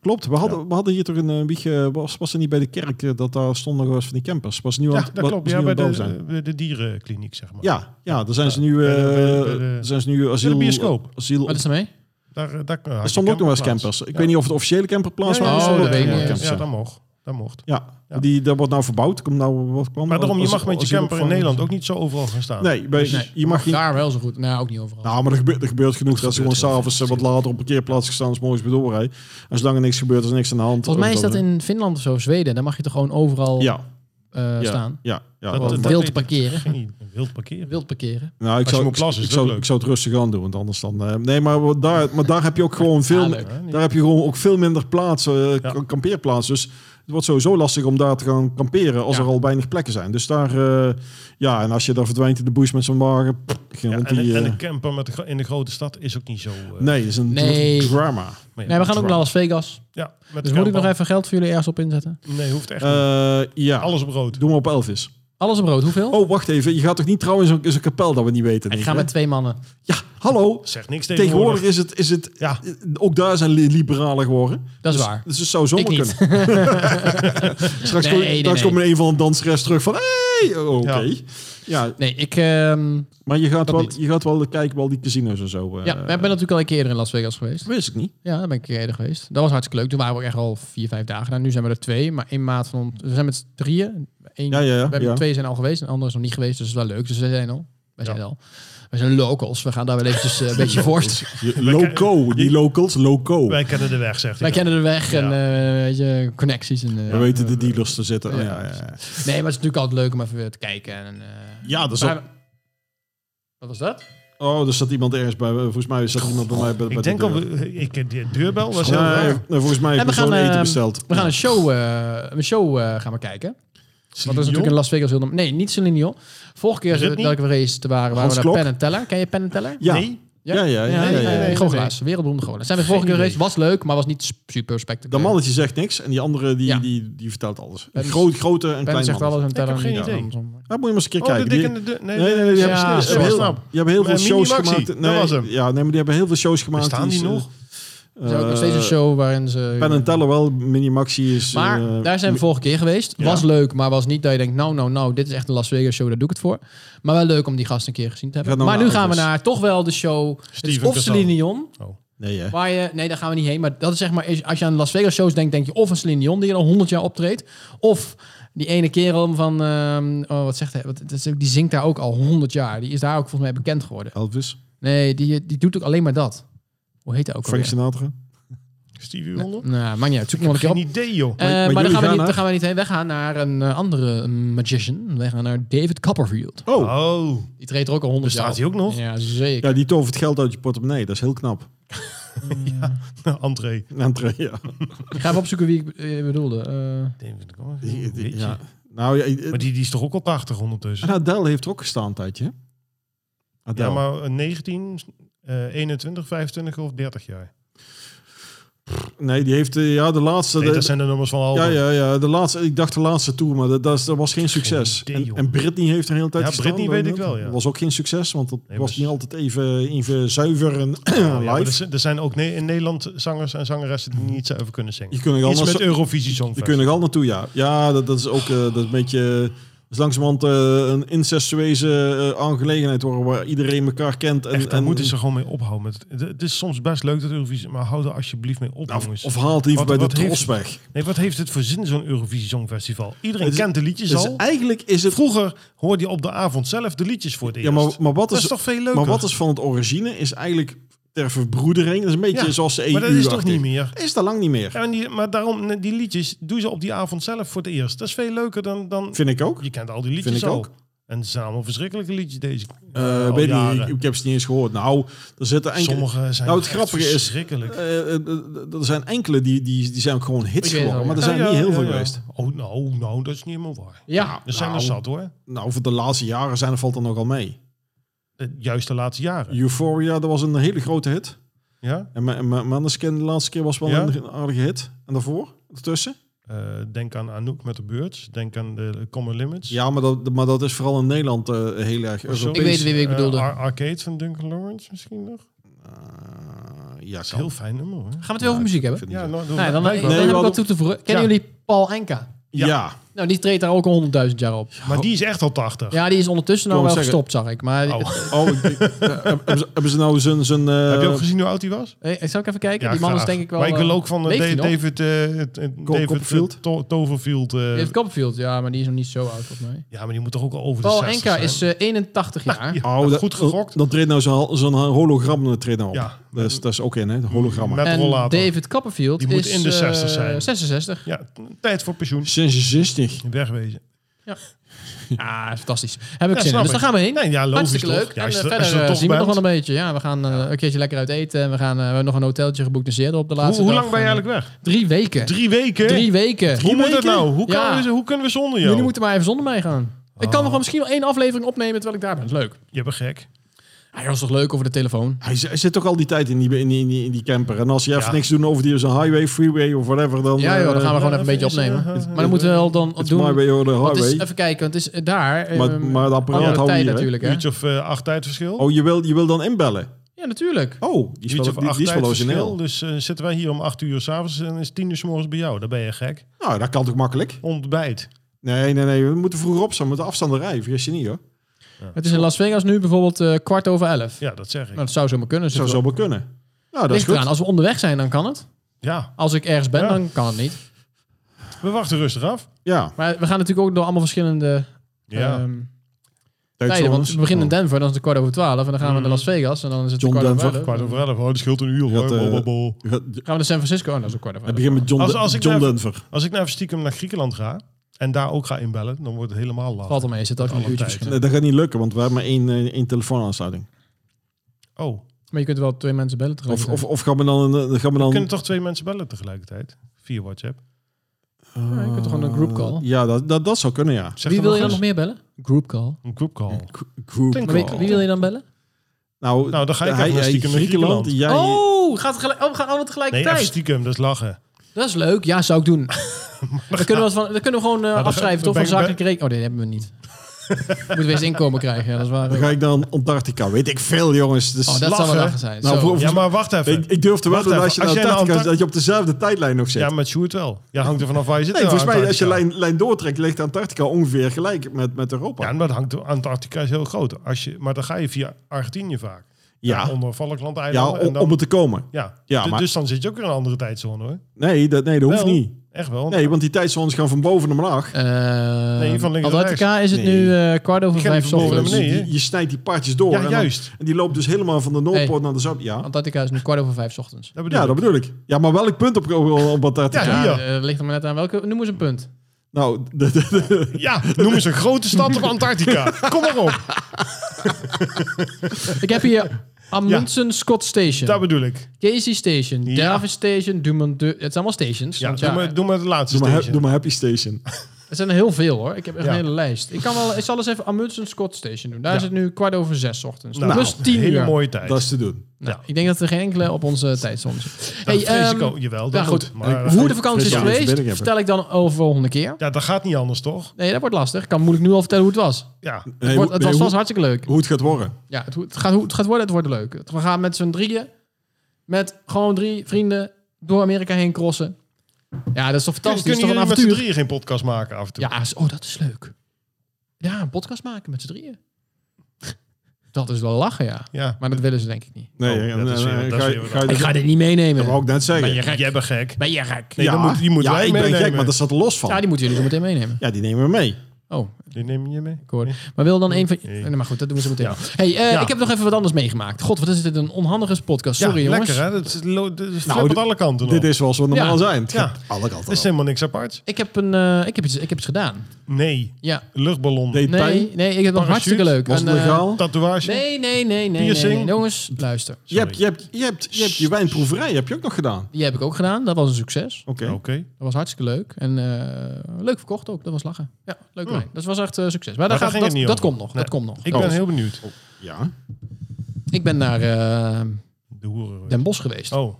Klopt, we hadden, we hadden hier toch een eh, wiegje, was, was er niet bij de kerk eh, dat daar stonden nog wel eens van die campers? Was nu aan, Ja, het- dat was- klopt. was Ja, nu bij aan het de, bouwen zijn. de, de dierenkliniek, zeg maar. Ja, ja, daar zijn ze nu, bij de- bij de- eh, bij de- zijn ze nu asiel, bioscoop. asiel Wat is er mee? Daar, eh, daar, er stonden ook nog wel eens campers. Ik weet niet of het officiële camperplaats Ja, was. ja, maar Oh, er dat stonden weet ik ook niet. campers, Ja, ja. dat mocht. Dat mocht. Ja, Ja. die, dat wordt nou verbouwd. Komt nou, wat kwam Maar daarom, je als- mag met als- je camper in als- Nederland ook niet zo overal gaan staan. Nee, bij- Nee. je mag niet... Daar wel zo goed. Nou, ook niet overal. Nou, maar er gebeurt, er gebeurt genoeg dat ze gewoon gebeurt heel s'avonds eh, wat later op parkeerplaats gestaan is moois bedoelrij. En zolang er niks gebeurt, is er niks aan de hand. Volgens mij is dat eh, in Finland of zo, Zweden. Daar mag je toch gewoon overal Ja, eh, ja, staan. Ja, ja. Dat- want- eh, dat- wild dat- parkeren. Geen- Wild parkeren. Wild parkeren. Nou, ik Als je zou, moet plassen, ik, is zou, dat leuk. ik zou het rustig aan doen, want anders dan... eh, nee, maar wat daar, maar daar heb je ook gewoon veel, Ah, me- leuk. Ja, niet. daar heb je gewoon ook veel minder plaatsen, eh, k- Ja. kampeerplaatsen. Dus het wordt sowieso lastig om daar te gaan kamperen als Ja. er al weinig plekken zijn. Dus daar, eh, ja, en als je daar verdwijnt in de bush met zo'n wagen, pff, geen Ja, hond en, die, en eh, een camper met de, gro- in de grote stad is ook niet zo... eh, nee, dat is een Nee. drama. maar ja, Nee, we gaan ook naar Las Vegas. Ja, met Dus de moet ik nog camper. even geld voor jullie ergens op inzetten? Nee, hoeft echt niet. Eh, ja, Alles op rood. doe maar op Elvis. Alles op rood. Hoeveel? Oh, wacht even. Je gaat toch niet trouwen in zo'n in zo'n kapel dat we niet weten? ik denk ga ik, met twee mannen. hè? Ja, hallo. Zegt niks Tegenwoordig tegenwoordig. is het, is het Ja. ook daar zijn li- liberalen geworden. Dat is Dus- waar. Dus het zou zomaar Ik kunnen. niet. Straks, Nee, kom, nee, straks nee. komt er een van de danseres terug van... Hey, oh, oké. Ja. Ja. *laughs* Nee, ik... ehm, maar je gaat, Dat wel, niet. je gaat wel kijken, wel die casinos en zo. eh, ja, ik ben natuurlijk al een keer eerder in Las Vegas geweest. wist ik niet. Ja, daar ben ik een keer eerder geweest. Dat was hartstikke leuk. Toen waren we ook echt al vier, vijf dagen. Nou, nu zijn we er twee, maar één maat van... ons- We zijn met z'n drieën. Eén, Ja, ja, ja. we hebben ja. Twee zijn al geweest en de andere is nog niet geweest. Dus dat is wel leuk. Dus we zijn al. Wij Ja. zijn al. We zijn locals. We gaan daar wel *laughs* eventjes eh, een beetje voor. *laughs* *laughs* Je- loco. Die locals, loco. Wij kennen de weg, zegt Wij hij. dan. kennen de weg en Ja. eh, weet je, connecties. En, eh, We weten de dealers te zetten. Oh, Ja. Ja, ja, ja. Nee, maar het is natuurlijk altijd leuk om even weer te kijken. En, eh, Ja, dat is maar- ook- Wat was dat? Oh, er zat iemand ergens bij. Volgens mij zat iemand bij mij bij, bij Ik denk de al, deur. ik, de deurbel was heel Ja, raar. nee, volgens mij En heeft we hij gewoon gaan, eten eh, besteld. We gaan een show, eh, een show eh, gaan we kijken. Want dat is natuurlijk in Las Vegas heel... norm- Nee, niet Celine Dion. Vorige keer Britney? dat ik we raced waren, waren Hans we naar Klok? Penn en Teller. Ken je Penn en Teller? Ja. Nee? Ja, ja, ja, ja, die, ja, eh, ja. die goochelaars, wereldberoemde goochelaars. Zijn we vorige Geen keer geweest, idee. was leuk, maar was niet sp- super Dat spectaculair. mannetje zegt niks en die andere die, Ja. die, die vertelt alles. Pens- Groot, grote en Penn klein zegt alles en heb Teller geen niet. idee. Andersom. Dat moet je maar eens een keer Oh, de kijken. Die- dik en de deur. Nee, Nee, nee, nee, nee, die ja, hebben, ja, ze hebben snap, heel, snap. die hebben heel Met veel shows Minimaxi, gemaakt. dat Nee, was hem. Ja, nee, maar die hebben heel veel shows gemaakt. Bestaan die is, nog? eh, Er is ook nog steeds een eh, show waarin ze... Penn en Teller wel, Minimaxi is... Maar eh, daar zijn we vorige keer geweest. Ja. Was leuk, maar was niet dat je denkt... nou, nou, nou, dit is echt een Las Vegas show, daar doe ik het voor. Maar wel leuk om die gast een keer gezien te hebben. Gaat nou maar nu naar gaan we Elvis. naar toch wel de show... het is Steven of Cassel. Celine Dion, Nee, hè? waar je... Nee, daar gaan we niet heen. Maar dat is zeg maar... Als je aan Las Vegas shows denkt, denk je of een Celine Dion... die al 100 jaar optreedt. Of die ene kerel van... ehm, oh, wat zegt hij? Wat, dat is ook- die zingt daar ook al 100 jaar. Die is daar ook volgens mij bekend geworden. Elvis, Nee, die, die doet ook alleen maar dat. Hoe heet hij ook Frank alweer? Sinatra. Stevie Nou, Wonder? nou, maakt niet uit. Zoek hem wel een keer op. Geen idee, joh. Eh, Maar- maar maar daar jullie gaan, we gaan niet, naar- daar gaan we niet heen. Wij gaan naar een eh, andere magician. Wij gaan naar David Copperfield. Oh, Oh, Die treedt er ook al honderd jaar bestaat op. hij ook nog? Ja, zeker. ja, die tovert geld uit je portemonnee. Dat is heel knap. *laughs* *laughs* André. Entree, ja. Ik ga even opzoeken wie ik eh, bedoelde. Eh, Die- die- Ja. ja. Nou, ja, eh, Maar die, die is toch ook al 80 ondertussen? en Adele heeft er ook gestaan een tijdje. hè? Adele. Ja, maar een 19, eh, 21, 25 of 30 jaar. Nee, die heeft eh, ja, de laatste... Nee, de- dat zijn de nummers van al. ja, ja, ja, de laatste, ik dacht de laatste tour, maar dat, dat, is- dat was geen succes. idee, en, joh. en Britney heeft er een hele tijd Ja, gestaan, Britney weet weet je ik wel, ja. Dat was ook geen succes, want dat Nee, was maar- Oh, niet altijd even, even zuiver en Nou Ja, maar *clears throat* live. er zijn- er zijn ook ne- in Nederland zangers en zangeressen die niet zo even kunnen zingen. je kunt er al Iets met naar, Eurovisie je Songfestival. kunt er al naartoe, ja. Ja, dat, dat is ook eh, dat is een beetje... eh, dat is langzamerhand eh, een incestueuze eh, aangelegenheid worden waar iedereen elkaar kent. En, Echt, daar en, moeten ze gewoon mee ophouden. met- Het- Het is soms best leuk dat Eurovisie, maar hou er alsjeblieft mee op, Nou, jongens. of, of haal het liever Wat- bij de wat heeft- tros weg. Nee, wat heeft het voor zin, zo'n Eurovisie Songfestival? Iedereen Het is- kent de liedjes Dus al. eigenlijk is het... Vroeger hoorde je op de avond zelf de liedjes voor het eerst. Ja, maar, maar, wat dat is, is, toch veel leuker? maar wat is van het origine is eigenlijk ter verbroedering. Dat is een beetje Ja, zoals de EU. maar dat is toch -achtig. niet meer? Is dat lang niet meer. Ja, en die, maar daarom, nee, die liedjes, doe ze op die avond zelf voor het eerst. Dat is veel leuker dan... dan Vind ik ook. je kent al die liedjes Vind ik al. ook. En het zijn allemaal verschrikkelijke liedjes deze Eh, al weet ik niet, jaren. ik, ik heb ze niet eens gehoord. Nou, er zitten enkele... Sommige zijn Nou, het echt grappige is- verschrikkelijk. eh, eh, eh, er zijn enkele die, die, die zijn ook gewoon hits Ik weet het geworden, maar al, er ja. zijn Ja, niet ja, heel ja, veel ja. geweest. Oh, nou, nou, dat is niet helemaal waar. Ja. Er zijn Nou. er zat hoor. Nou, voor de laatste jaren zijn er valt er nogal mee. Eh, Juist de laatste jaren. Euphoria, dat was een hele grote hit. Ja? En Ma- Ma- Maneskin de laatste keer was wel Ja? een aardige hit. En daarvoor? Ertussen? Eh, denk aan Anouk met de Birds. Denk aan de Common Limits. Ja, maar dat, maar dat is vooral in Nederland eh, heel erg Europees. Ik weet wie ik Eh, bedoelde. Ar- Arcade van Duncan Lawrence misschien nog. Dat Eh, ja, is kan. een heel fijn nummer hoor. Gaan we het weer over muziek hebben? Vind ik Ja, niet nou, Nee, dan, lijkt dan wel. Nee, we heb ik wat hadden- toe te voegen. Kennen Ja. jullie Paul Enka? zo. ja. Nou, die treedt daar ook al honderdduizend jaar op. Maar die is echt al 80. Ja, die is ondertussen nou Ik wel wou zeggen- gestopt, zag ik. Maar Oh. Oh, ik- *laughs* ik- eh, hebben, ze, hebben ze nou zijn... zijn eh, Heb je ook gezien hoe oud hij was? Hey, ik zal ik even kijken. Ja, die man is graag. denk ik wel. Maar ik wil eh, ook van eh, leeft hij nog? David, eh, eh, David Copperfield? eh, To- Toverfield. eh, David Copperfield, ja, maar die is nog niet zo oud volgens mij. ja, maar die moet toch ook al over Paul de 60 Enka zijn? is eh, 81 jaar. Ja, Oh, dat- goed gegokt. Dan treedt nou zo'n zo'n hologram eh, treedt nou op. Ja. Dat is, dat is ook in, hè? De Mm, hologrammen. Met En rollator. David Copperfield Die moet is in de eh, 60 zijn. 66. Ja, t- tijd voor pensioen. 66. Wegwezen. *laughs* Ja, Ah, fantastisch. Heb ik Ja, zin in. snap Dus daar ik. gaan we heen. Nee, ja, logisch Hartstikke toch? leuk. Ja, en als eh, je- als je verder er eh, toch zien we nog bent. wel een beetje. Ja, we gaan eh, een keertje lekker uit eten. En we, gaan, eh, we hebben nog een hoteltje geboekt in Seattle op de Hoe, laatste hoe dag. lang ben je En, eigenlijk weg? eh, Drie weken. Drie weken? Drie weken. hoe moet dat nou? Hoe, Ja. kunnen we, hoe kunnen we zonder jou? Jullie moeten maar even zonder mij gaan. Ik kan Oh. nog wel misschien wel één aflevering opnemen terwijl ik daar ben. Dat is leuk. Ah, Je bent gek. Hij was toch leuk over de telefoon? Hij, z- hij zit toch al die tijd in die, in die, in die, in die camper. En als je even Ja. niks doet over die zo'n highway, freeway of whatever, dan... Ja, joh, dan gaan we gewoon even eh, een beetje is, eh, opnemen. eh, Maar dan moeten we wel dan Het doen. highway or the want het is- highway. even kijken, want het is eh, daar. eh, Maar- maar het apparaat andere houden we tijd hier, hè? natuurlijk, hè? Uurtje of eh, acht tijdverschil. Oh, je wil, je wil dan inbellen? Ja, natuurlijk. Oh, die is wel, Uurtje of die, acht die is wel tijdverschil. origineel. Dus eh, zitten wij hier om acht uur s'avonds en is tien uur s morgens bij jou. Dan ben je gek. dus- Nou, dat kan toch makkelijk? Ontbijt. Nee, nee, nee. We moeten vroeger op zijn met de afstanderij. Vergis je niet, hoor. Het is in Las Vegas nu bijvoorbeeld eh, kwart over elf. Ja, dat zeg ik. Nou, dat zou zomaar kunnen. Dat zou zo wel kunnen. Nou, dat is Ligt eraan. goed. Als we onderweg zijn, dan kan het. Ja, Als ik ergens ben, Ja. dan kan het niet. we wachten rustig af. Ja. Maar we gaan natuurlijk ook door allemaal verschillende Ja. ehm, tijden. Want we Oh. beginnen in Denver, dan is het kwart over twaalf. En dan gaan we naar Las Vegas en dan is het John kwart over Denver, elf. Mhm. Kwart over elf. Oh, dat scheelt een uur. Ja, hoor. eh, Bo, bo, bo. Oh. Gaan we naar San Francisco? Oh, dat is ook kwart over Hij elf. begint met John, Als- Den- als ik John nou- Denver. Als ik naar stiekem naar Griekenland ga en daar ook ga inbellen, dan wordt het helemaal laat. Valt al mee, zit ook nog een Alle uurtje tijd. verschil. Nee, dat gaat niet lukken, want we hebben maar één, eh, één telefoonaansluiting. Oh, Maar je kunt wel twee mensen bellen Of, tegelijk. of, of gaan we dan... een- eh, Gaan we dan kunnen toch twee mensen bellen tegelijkertijd? Via WhatsApp. Ja, je kunt toch gewoon een group call? Ah, Ja, dat, dat, dat zou kunnen, ja. Zeg Wie dat wil nog je dan nog eens. meer bellen? Group call. Een group call. Group Denk Maar Call. wie, wie wil je dan bellen? Nou, Nou, dan ga ik hij, even naar hij- stiekem naar Griekenland. Griekenland. Jij, Oh, gaat gelijk, oh, we gaan allemaal Nee, even tegelijkertijd. stiekem, dat is lachen. dat is leuk. Ja, zou ik doen. *laughs* dan, kunnen we wat van, dan kunnen we gewoon eh, dan ga- afschrijven, dan ben toch? Van ik- zakelijke rekening. Oh, nee, die hebben we *laughs* niet. Moeten we eens inkomen krijgen. Ja, dat is waar. Dan ga ik naar Antarctica. Weet ik veel, jongens. Dus Oh, dat zou wel lachen. lachen zijn. Nou, Zo. voor- Ja, maar wacht even. ik, ik durf te Wacht wedden dat als je naar even, als jij naar Antarctica Antar- dat je op dezelfde tijdlijn nog zit. Ja, met Sjoerd wel. Ja, hangt er vanaf waar je zit. nee, in volgens mij, als je Antarctica. lijn, lijn doortrekt, ligt Antarctica ongeveer gelijk met, met Europa. Ja, maar dat hangt, Antarctica is heel groot. Als je, maar dan ga je via Argentinië vaak. Ja. En onder Falkland Ja, eilanden. om, en dan, om er te komen. ja. Ja, Du- maar- Dus dan zit je ook in een andere tijdzone hoor. Nee, dat, nee, dat hoeft Wel. niet. Echt wel. Nee, want die tijdzones gaan van boven naar beneden. Eh, Nee, van links naar Antarctica is het Nee. nu eh, kwart over Ik ga vijf niet van boven naar ochtends. Dus die- beneden. je snijdt die paardjes door. Ja, en dan- juist. En die loopt dus helemaal van de Noordpoort naar de Zuid. Ja. Antarctica is nu kwart over vijf ochtends. Dat bedoel ja, dat ik. bedoel ik. Ja, maar welk punt op, op, op Antarctica? Ja, Ja, hier. eh, ligt er maar net aan welke. Noem eens een punt. Nou, *laughs* de- de- de- ja, noem eens een grote stad op *laughs* Antarctica. Kom maar op. Ik heb *laughs* hier Amundsen Scott Station, Dat bedoel ik. Casey Station, Ja. Davis Station, Dumont. Du- het zijn allemaal stations. Ja, eh, want doe, maar, doe maar het laatste doe, maar, station. doe maar Happy Station. Het zijn er heel veel hoor. Ik heb echt Ja. een hele lijst. Ik, kan wel, ik zal eens even Amundsen Scott Station doen. Daar Ja. is het nu kwart over zes 's ochtends. Nou, Plus tien hele uur. mooie tijd. Dat is te doen. Nou, Ik denk dat er geen enkele op onze tijdzone zit. Nou, Hey, vrees ik ehm, ook. Jawel, dat ja, moet, goed. eh, maar- Hoe de vakantie is Ja, geweest, verbinding hebben. vertel ik dan over volgende keer. Ja, dat gaat niet anders, toch? Nee, dat wordt lastig. Ik kan moeilijk nu al vertellen hoe het was. Het, Ja. Nee, wordt, hoe- het nee, was vast hoe, hartstikke leuk. hoe het gaat worden. Ja, het, het, gaat, hoe het gaat worden, het wordt leuk. Het- We gaan met z'n drieën, met gewoon drie vrienden, door Amerika heen crossen. Ja, dat is toch fantastisch? Kunnen dat is jullie toch met een z'n avontuur? drieën geen podcast maken af en toe? Ja, is- oh, dat is leuk. Ja, een podcast maken met z'n drieën. *laughs* Dat is wel lachen, ja. Ja. Maar dat willen ze denk ik niet. Nee, Oh, en, dat is en, weer- en dat is ga- weer wat ga- Ik ga dit niet meenemen. Dat wou ik net zeggen. Ben je gek? Jij bent gek. Ben je gek? Nee, dan moet- die moeten ja, wij ik ben meenemen. gek, maar dat staat er los van. Ja, die moeten jullie zo meteen meenemen. Ja, die nemen we mee. Oh, Die neem je mee. ik hoor. Maar wil dan een van... Nee. Nee, maar goed, dat doen we zo meteen. Ja. Hey, eh, Ja. ik heb nog even wat anders meegemaakt. God, wat is dit een onhandige podcast. ja, Sorry, jongens. Nou, lekker hè. Dat lo- dat flippert dit- alle kanten Nou, Dit op. is zoals we normaal Ja. zijn. Het Ja. gaat alle kanten Dat is op. helemaal niks apart. Ik heb, een, eh, ik, heb iets, ik heb iets gedaan. Nee, Ja. luchtballon. Deed pijn? Nee, nee, ik heb nog Parachute? hartstikke leuk. Was het Een, eh, legaal? Tatoeage. nee, nee, nee, nee, nee, Piercing? nee. Jongens, luister. je, hebt, je, hebt, je, hebt, je hebt je wijnproeverij heb je ook nog gedaan. Die heb ik ook gedaan. Dat was een succes. Oké. Oké. Dat was hartstikke leuk. En eh, leuk verkocht ook. Dat was lachen. Ja, leuk wijn. Dat was echt eh, succes. Maar, Hmm. Maar daar daar gaat, ging dat, het niet dat om. komt nog. Nee. Dat komt nog. Ik Oh. ben heel benieuwd. Ja. ik ben naar eh, De hoeren. Den Bosch geweest. Oh.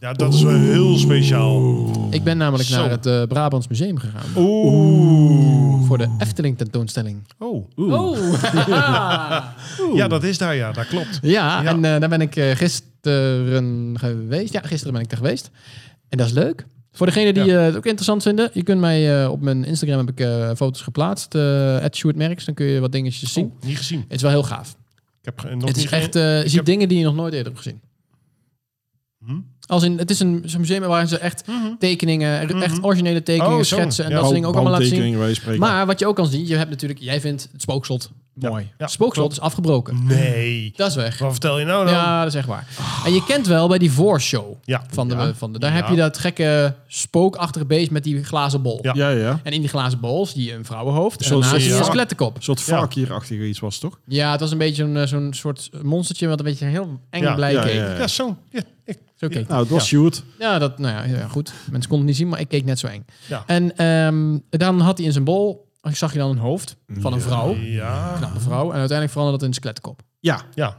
Ja, dat is wel heel speciaal. Ik ben namelijk Oh. Zo. naar het eh, Brabants Museum gegaan. Oeh. Voor de Efteling tentoonstelling. Oh. Oh. Ja, dat is daar ja. Dat klopt. ja, Ja. en eh, daar ben ik eh, gisteren geweest. Ja, gisteren ben ik daar geweest. En dat is leuk. Voor degenen die eh, het ook interessant vinden, je kunt mij eh, op mijn Instagram heb ik eh, foto's geplaatst. eh @sjoerdmerks. Dan kun je wat dingetjes zien. Oh, niet gezien. Het is wel heel gaaf. Ik heb ge- nog het is niet echt, ge- eh, je ziet heb- dingen die je nog nooit eerder hebt gezien. Hm? Mhm. Als in, het is een zo'n museum waar ze echt tekeningen, er- echt originele tekeningen, Oh, zo. schetsen en Ja. dat soort dingen ook allemaal laten zien. wij spreken. Maar wat je ook kan zien, je hebt natuurlijk, jij vindt het spookslot mooi. ja, het spookslot klopt. Mhm. is afgebroken. Nee. Dat is weg. Wat vertel je nou dan? Ja, dat is echt waar. En je kent wel bij die voorshow Ja. van de, Ja. van de daar Ja. heb je dat gekke spookachtige beest met die glazen bol. Ja. ja, ja. En in die glazen bol zie je een vrouwenhoofd en Zo'n daarnaast zie je een soort- skelettenkop. Een soort Ja. vark hierachtig iets was, toch? Ja, het was een beetje een, eh, zo'n soort monstertje wat een beetje heel eng Ja, blij ja, keek. ja. Ja, zo. Ja, ik, Zo keek Nou, het was shoot. Ja, dat, nou ja, ja, goed. Mensen konden het niet zien, maar ik keek net zo eng. Ja. En ehm, dan had hij in zijn bol, ik zag je dan een hoofd van een vrouw, Nou. een ja. knappe vrouw. En uiteindelijk veranderde dat in een skeletkop. Ja. Ja.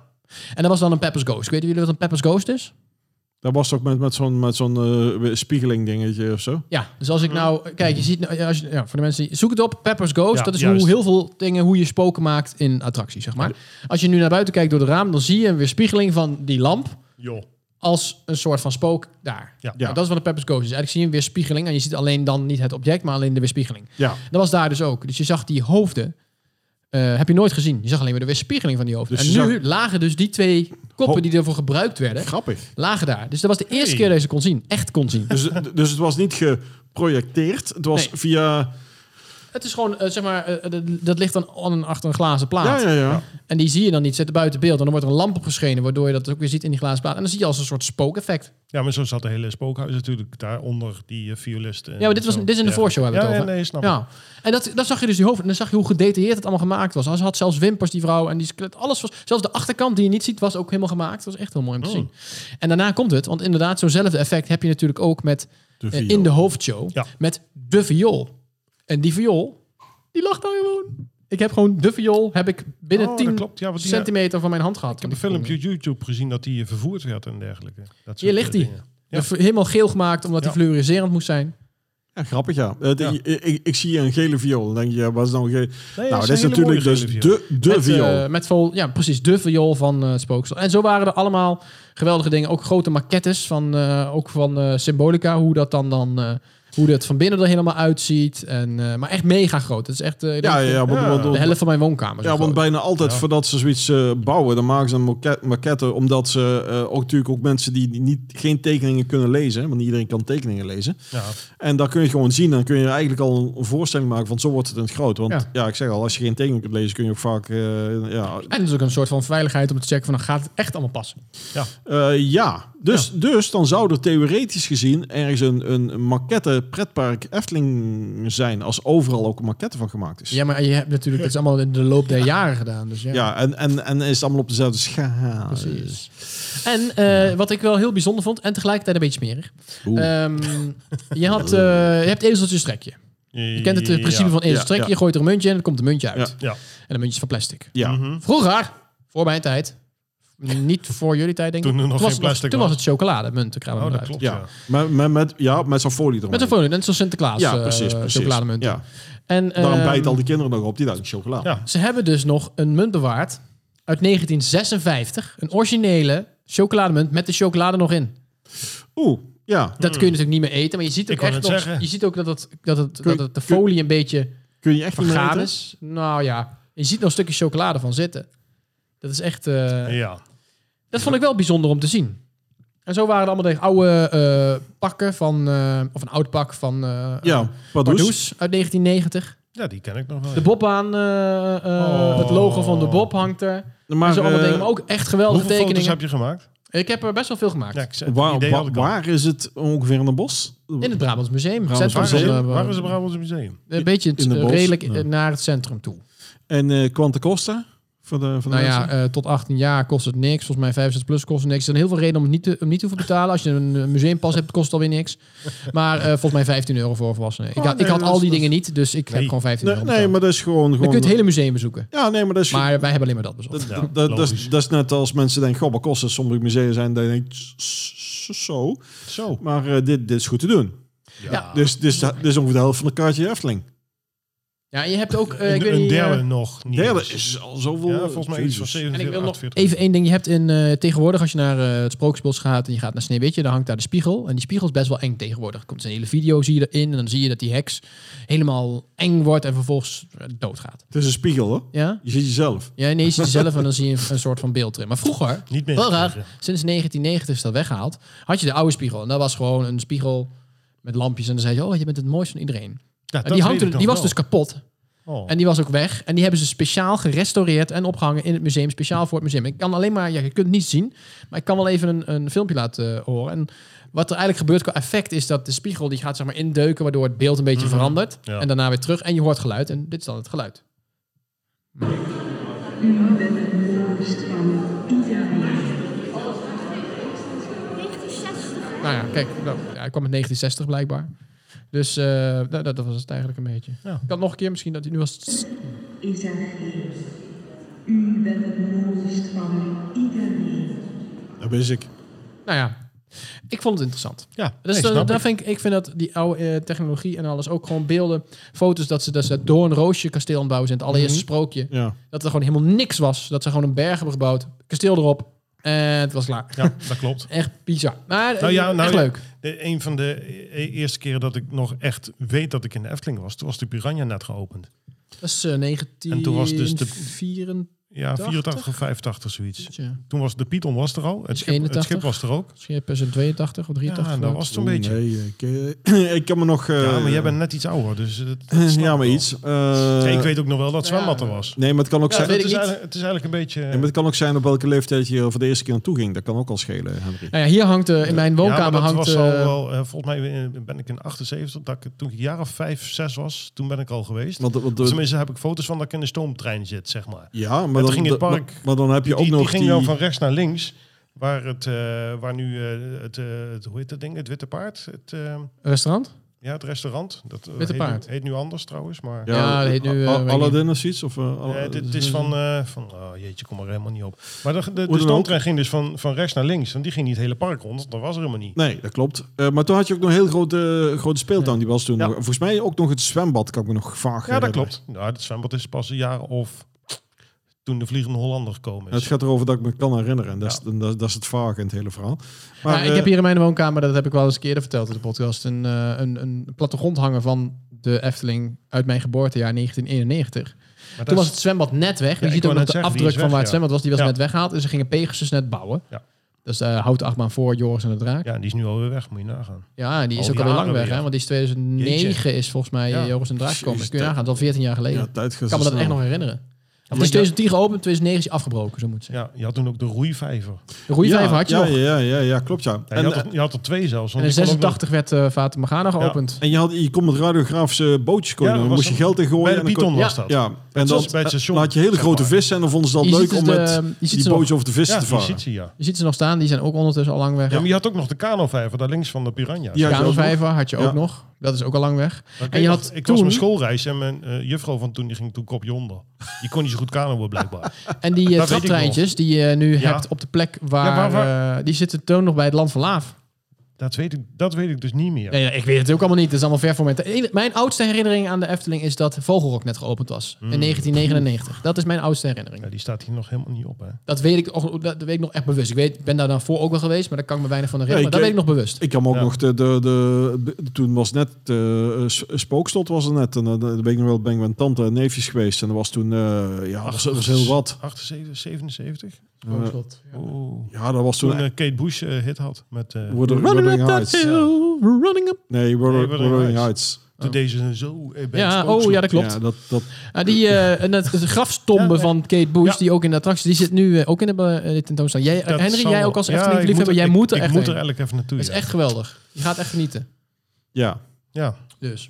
En dat was dan een Pepper's Ghost. Weten jullie wat een Pepper's Ghost is? Dat was toch met, met zo'n met zo'n eh, spiegeling dingetje of zo? Ja, dus als ik nou... Kijk, je ziet... nou- Als je, ja, voor de mensen die... Zoek het op, Pepper's Ghost. Ja, dat is juist. hoe heel veel dingen, hoe je spoken maakt in attracties, zeg maar. Als je nu naar buiten kijkt door de raam, dan zie je een weerspiegeling van die lamp Joh. als een soort van spook daar. Ja. Nou, dat is wat een Pepper's Ghost is. Eigenlijk zie je een weerspiegeling en je ziet alleen dan niet het object, maar alleen de weerspiegeling. Ja. Dat was daar dus ook. Dus je zag die hoofden. eh, heb je nooit gezien. Je zag alleen maar de weerspiegeling van die hoofden. Dus en je nu lagen dus die twee koppen Ho- die ervoor gebruikt werden, Grappig. lagen daar. Dus dat was de eerste Hey. keer dat je ze kon zien. Echt kon zien. *laughs* Dus, dus het was niet geprojecteerd. Het was Nee. via... Het is gewoon, eh, zeg maar, eh, dat- dat ligt dan aan een- achter een glazen plaat. Ja, ja, ja. En die zie je dan niet, zitten buiten beeld. En dan wordt er een lamp opgeschenen, waardoor je dat ook weer ziet in die glazen plaat. En dan zie je als een soort spookeffect. Ja, maar zo zat de hele spookhuis natuurlijk daaronder, die eh, violist. en Ja, maar dit, was, zo. dit is in de Ja. voorshow hebben we ja, het over. Ja, nee, snap ik. Ja, en dat, dat zag je dus die hoofd. En dan zag je hoe gedetailleerd het allemaal gemaakt was. Ze had zelfs wimpers, die vrouw. En die skelet, alles was... Zelfs de achterkant die je niet ziet, was ook helemaal gemaakt. Dat was echt heel mooi om te Oh. zien. En daarna komt het. Want inderdaad, zo'nzelfde effect heb je natuurlijk ook met... De eh, viool. in de hoofdshow. Ja. Met de viool. En die viool, die lag daar gewoon. Ik heb gewoon de viool heb ik binnen Oh, dat 10 klopt. Ja, want die, eh, centimeter van mijn hand gehad. Ik heb een filmpje op YouTube gezien dat die eh, vervoerd werd en dergelijke. Dat soort, Hier ligt eh, die. dingen. Ja. Helemaal geel gemaakt, omdat die Ja. fluoriserend moest zijn. Ja, grappig, ja. Eh, de- Ja. Ik, ik, ik zie een gele viool. Dan denk je, ja, wat is nou een gele... Nee, nou, dat dat is een hele natuurlijk mooie dus gele de, de met, viool. eh, met vol, ja, precies, de viool van eh Spooksel. En zo waren er allemaal geweldige dingen. Ook grote maquettes van, eh, ook van eh, Symbolica, hoe dat dan, dan eh, hoe dat van binnen er helemaal uitziet. En, eh, maar echt mega groot. Het is echt eh, ik ja, denk, ja, ja. Want, Ja. want- de want- helft van mijn woonkamer. zo ja, want groot. bijna altijd Ja. voordat ze zoiets eh, bouwen, dan maken ze een maquette, maquette omdat ze eh, ook natuurlijk ook mensen die die niet, geen tekeningen kunnen lezen, want niet iedereen kan tekeningen lezen. Ja, En daar kun je gewoon zien, dan kun je eigenlijk al een voorstelling maken van zo wordt het in het groot. Want Ja. ja, ik zeg al, als je geen tekening kunt lezen, kun je ook vaak, eh, ja, En het is ook een soort van veiligheid om te checken van dan gaat het echt allemaal passen. Eh, ja, dus, dus dan zou er theoretisch gezien ergens een, een maquette pretpark Efteling zijn, als overal ook een maquette van gemaakt is. Ja, maar je hebt natuurlijk, het is allemaal in de loop der jaren gedaan. Dus ja. Ja, en, en, en is het allemaal op dezelfde schaal. Precies. En eh, wat ik wel heel Eh, bijzonder vond, en tegelijkertijd een beetje smerig. Oeh. *laughs* Ehm, je, had, eh, je hebt ezeltjes trekje. Je kent het eh, principe van eerst ja, trek je, ja. gooit er een muntje in en dan komt een muntje uit. Ja. Ja. En een muntje is van plastic. Ja. Vroeger, voor mijn tijd, niet voor jullie tijd denk ik. Toen er nog was geen het nog- plastic Toen was. was het chocolade, munten kwamen Oh, dat eruit. klopt. Ja. Ja. Met, met, met, ja, met zo'n folie eromheen. Met een folie, net zoals Sinterklaas Ja, eh, precies, precies. chocolademunt. Ja. En eh, Daarom bijten al die kinderen nog op die duizend chocola. Ja. ze hebben dus nog een munt bewaard uit 1956. Een originele chocolademunt met de chocolade nog in. Oeh, ja. Dat kun je natuurlijk niet meer eten, maar je ziet ook Ik wou echt net nog, zeggen. je ziet ook dat, het, dat, het, Kun je- dat het de folie een beetje Kun je echt niet meer vergaan eten? is. Nou ja, je ziet nog stukjes chocolade van zitten. Dat is echt... eh, ja. Dat vond ik wel bijzonder om te zien. En zo waren er allemaal de oude eh, pakken van... eh, of een oud pak van eh Ja, Pardoes. Pardoes uit 1990. Ja, die ken ik nog wel. De Bobbaan, eh, eh, Oh. het logo van de Bob hangt er. en Maar, zo allemaal eh, dingen, maar ook echt Hoeveel geweldige foto's tekeningen. heb je gemaakt? Ik heb er best wel veel gemaakt. Ja, ik zei, waar, het idee waar- had ik al. waar is het ongeveer in een bos? In het Brabants Museum. Brabants Centrum Waar is, van het, Museum. de- waar is het Brabants Museum? Een beetje het- In de eh, bos? redelijk Ja. eh, naar het centrum toe. En eh Quante Costa? Voor de, voor de Nou mensen? ja, eh, tot 18 jaar kost het niks. Volgens mij 65 plus kost het niks. Er zijn heel veel redenen om het niet te, om niet te hoeven betalen. Als je een eh, museumpas hebt, kost het alweer niks. Maar eh, volgens mij 15 euro voor volwassenen. Ik, Oh, had- ik nee, had dat al is- die dat is- dingen niet, dus ik heb Nee. gewoon 15 nee, euro nee, betaald. maar dat is gewoon... Dan gewoon kun je het hele museum bezoeken. Ja, nee, maar dat is... Maar wij hebben alleen maar dat bezocht. dat, Ja, dat- dat, dat, is, logisch. dat is net als mensen denken, goh, wat kost het? Sommige musea zijn, dan denk ik, s- s- zo. Zo. Maar eh, dit, dit is goed te doen. Ja. Ja. Dus dit is, dit is ongeveer de helft van de kaartje Efteling. Ja, en je hebt ook... eh, ik een, weet een niet, eh, derde nog niet. Derde eens. is al zoveel... Ja, volgens mij iets van Jezus. 47, En ik wil nog 48. even één ding. Je hebt in eh, tegenwoordig, als je naar eh, het sprookjesbos gaat en je gaat naar Sneeuwwitje, dan hangt daar de spiegel. En die spiegel is best wel eng tegenwoordig. Er komt een hele video, zie je erin. En dan zie je dat die heks helemaal eng wordt en vervolgens eh, doodgaat. Het is een spiegel, hoor. Ja? Je ziet jezelf. Ja, nee, je ziet jezelf en dan zie je een, een soort van beeld erin. Maar vroeger, Niet meer. heel raar, sinds 1990 is dat weggehaald, had je de oude spiegel. En dat was gewoon een spiegel met lampjes. En dan zei je, oh, je bent het mooiste van iedereen. Ja, En die, hangt er, die was dus kapot. Oh. En die was ook weg. En die hebben ze speciaal gerestaureerd en opgehangen in het museum. Speciaal voor het museum. Ik kan alleen maar, ja, je kunt het niet zien. Maar ik kan wel even een, een filmpje laten eh, horen. En wat er eigenlijk gebeurt qua effect is dat de spiegel die gaat zeg maar indeuken. Waardoor het beeld een beetje Mhm. verandert. Ja. En daarna weer terug. En je hoort geluid. En dit is dan het geluid. Nou ja, kijk. Nou, ja, hij kwam in 1960 blijkbaar. Dus eh, nou, dat, dat was het eigenlijk een beetje. Ja. Ik kan nog een keer misschien dat hij nu was. Isageer, u bent het mooist van iedereen. Dat wist ik. Nou ja, ik vond het interessant. Ja, Dus nee, dan- snap daar ik. vind ik, ik vind dat die oude eh, technologie en alles ook gewoon beelden, foto's dat ze, dat ze door een roosje kasteel aan het bouwen zijn. Het allereerste Mhm. sprookje. Ja. Dat er gewoon helemaal niks was. Dat ze gewoon een berg hebben gebouwd. Kasteel erop. En het was klaar. Ja, dat *laughs* klopt. Echt bizar. Maar Nou ja, nou Eh, echt ja. leuk. De, een van de e- eerste keren dat ik nog echt weet dat ik in de Efteling was, toen was de Piranha net geopend. Dat is eh, 19... En toen was dus de- 84, Ja, 84 of 85 zoiets. ja. Toen was de Python was er al, het Dus schip, het 81? schip was er ook. Misschien heb je zo'n 82 of Ja, 83. en dat was het zo'n Oeh, beetje. Nee, ik, eh, *clears throat* ik kan me nog... eh, Ja, maar jij bent net iets ouder, dus dat, dat *clears throat* snap Ja, maar ik wel. iets. Eh, ik weet ook nog wel dat zwembad er was. Dus Nee, maar het kan ook Ja, zijn... weet het, ik is niet. eigenlijk- het is eigenlijk een beetje... Ja, maar het kan ook zijn op welke leeftijd je er voor de eerste keer naartoe ging. Dat kan ook al schelen, Henry. Nou ja, hier hangt eh, in mijn Ja, maar woonkamer dat hangt... was al eh, wel, eh, volgens mij eh, ben ik in 78, dat ik, toen ik een jaar of 5, 6 was, toen ben ik al geweest. Want, eh, want, Of Tenminste, daar heb ik foto's van dat ik in de stoomtrein zit, zeg maar. ja, maar dan, ging het maar- park- Maar, dan heb je ook die, die nog ging die... dan van rechts naar links, waar, het, eh, waar nu eh, het, eh, het, hoe heet dat ding, het Witte Paard, het, eh, Restaurant? ja, het restaurant. Dat eh, Witte heet, nu- Paard. heet nu anders trouwens, maar... Ja, dat heet nu, eh, Al- weet ik Aladdin of zoiets? Of, eh, Al- Eh, dit dit is van, eh, van oh jeetje, kom er helemaal niet op. Maar de, de, dan de ook. stoomtrein ging dus van, van rechts naar links. Want die ging niet het hele park rond. Dat was er helemaal niet. Nee, dat klopt. Eh, maar toen had je ook nog een heel grote, grote speeltuin. Die was toen nog- Volgens mij ook nog het zwembad, kan ik me nog vaag Ja, dat herinneren. klopt. Nou, dat zwembad is pas een jaar of toen de Vliegende Hollander gekomen En het is. gaat erover dat ik me kan herinneren. En dat, Ja. is, en dat, dat is het vaag in het hele verhaal. Maar, Maar ik eh, heb hier in mijn woonkamer, dat heb ik wel eens een keer eerder verteld in de podcast, een, eh, een, een plattegrond hangen van de Efteling uit mijn geboortejaar 1991. Maar dat Toen is- was het zwembad net weg. Ja, je ik ziet wou ook nog de net zeggen, die afdruk is van weg, waar het ja. zwembad was, die was Ja. net weggehaald. En ze gingen Pegasus net bouwen. Ja. Dus de houten achtbaan voor Joris en de Draak. Ja, Ja, die is nu alweer weg, moet je nagaan. en die is Al ook die al lang jaren weg, weer. hè? want die is 2009 is volgens mij eh, Ja. Joris en de Draak gekomen. Jezus, Kun je nagaan, dat is al 14 jaar geleden. ja, tijd gaat ik kan me zo dat echt snel. nog herinneren. Het maar is ja- 2010 geopend, 2009 is hij afgebroken, zo moet het Ja, je had toen ook de roeivijver. zijn. De roeivijver ja, had je ja, nog. Ja, ja, ja, ja, klopt ja. Ja, je, en, eh, had er, je had er twee zelfs. En want in je kon ook nog- 86 werd eh Vater Morgana geopend. en je, had, je kon met radiografische bootjes kopen. Ja, dat dan was moest je een- geld in gooien. Bij de en dan kon- Python was Ja. dat. Ja, en dan, zoals bij het station, dan had je hele zeg grote maar. vissen en dan vonden ze dat Je ziet leuk dus om de- met je ziet die ze nog. bootjes over de vissen Ja, te die varen. ziet ze, ja. Je ziet ze nog staan, die zijn ook ondertussen al lang weg. Ja, maar je had ook nog de kanovijver, daar links van de piranha. Die had je ook nog. Kamervijver had je ook Ja. nog. Dat is ook al lang weg. Maar En je ik had nog- ik was toen, mijn schoolreis en mijn eh, juffrouw van toen die ging toen kopje onder. Die kon niet zo goed kanoën blijkbaar. en die eh, Dat weet ik traptreintjes die je nu Ja. hebt op de plek waar... Ja, waar- eh, die zitten toen nog bij het Land van Laaf. Dat weet ik, dat weet ik dus niet meer. Nee, nee, ik weet het ook allemaal niet. Het is allemaal ver voor mijn tijd. Eén- Mijn oudste herinnering aan de Efteling is dat Vogelrok net geopend was. Hmm. In 1999. Dat is mijn oudste herinnering. Ja, die staat hier nog helemaal niet op. Hè? Dat weet ik, nog- dat weet ik nog echt bewust. Ik weet, ben daar dan voor ook wel geweest, maar daar kan ik me weinig van herinneren. Ja, maar ik- dat weet ik nog bewust. Ik kan me ook Ja. nog de, de, de, de- toen was net eh, s- Spookslot was er net en eh, de weet ik nog wel ben ik met tante en neefjes geweest en er was toen eh ja was, was heel wat. 78, 77. Eh, Oeh. ja, dat was toen Toen eh, Kate Bush eh, hit had met... eh Worden- Running Wuthering up that Heights. hill, running up. Nee, Wuthering Nee, Wuthering Wuthering Heights. Heights. Toen deze zo... eh, bij Ja, het oh spookslot. ja, dat klopt. Ja, dat, dat, Ah, die eh, en het, de grafstombe Ja, eh, van Kate Bush, ja. die ook in de attractie, die zit nu eh, ook in de eh, de tentoonstelling. Jij, Dat Henry, zal jij wel. ook als Ja, Efteling ik liefhebber, jij ik- moet er ik echt moet er heen. eigenlijk even naartoe. Dat is ja. echt geweldig. Je gaat echt genieten. ja. Ja. Dus.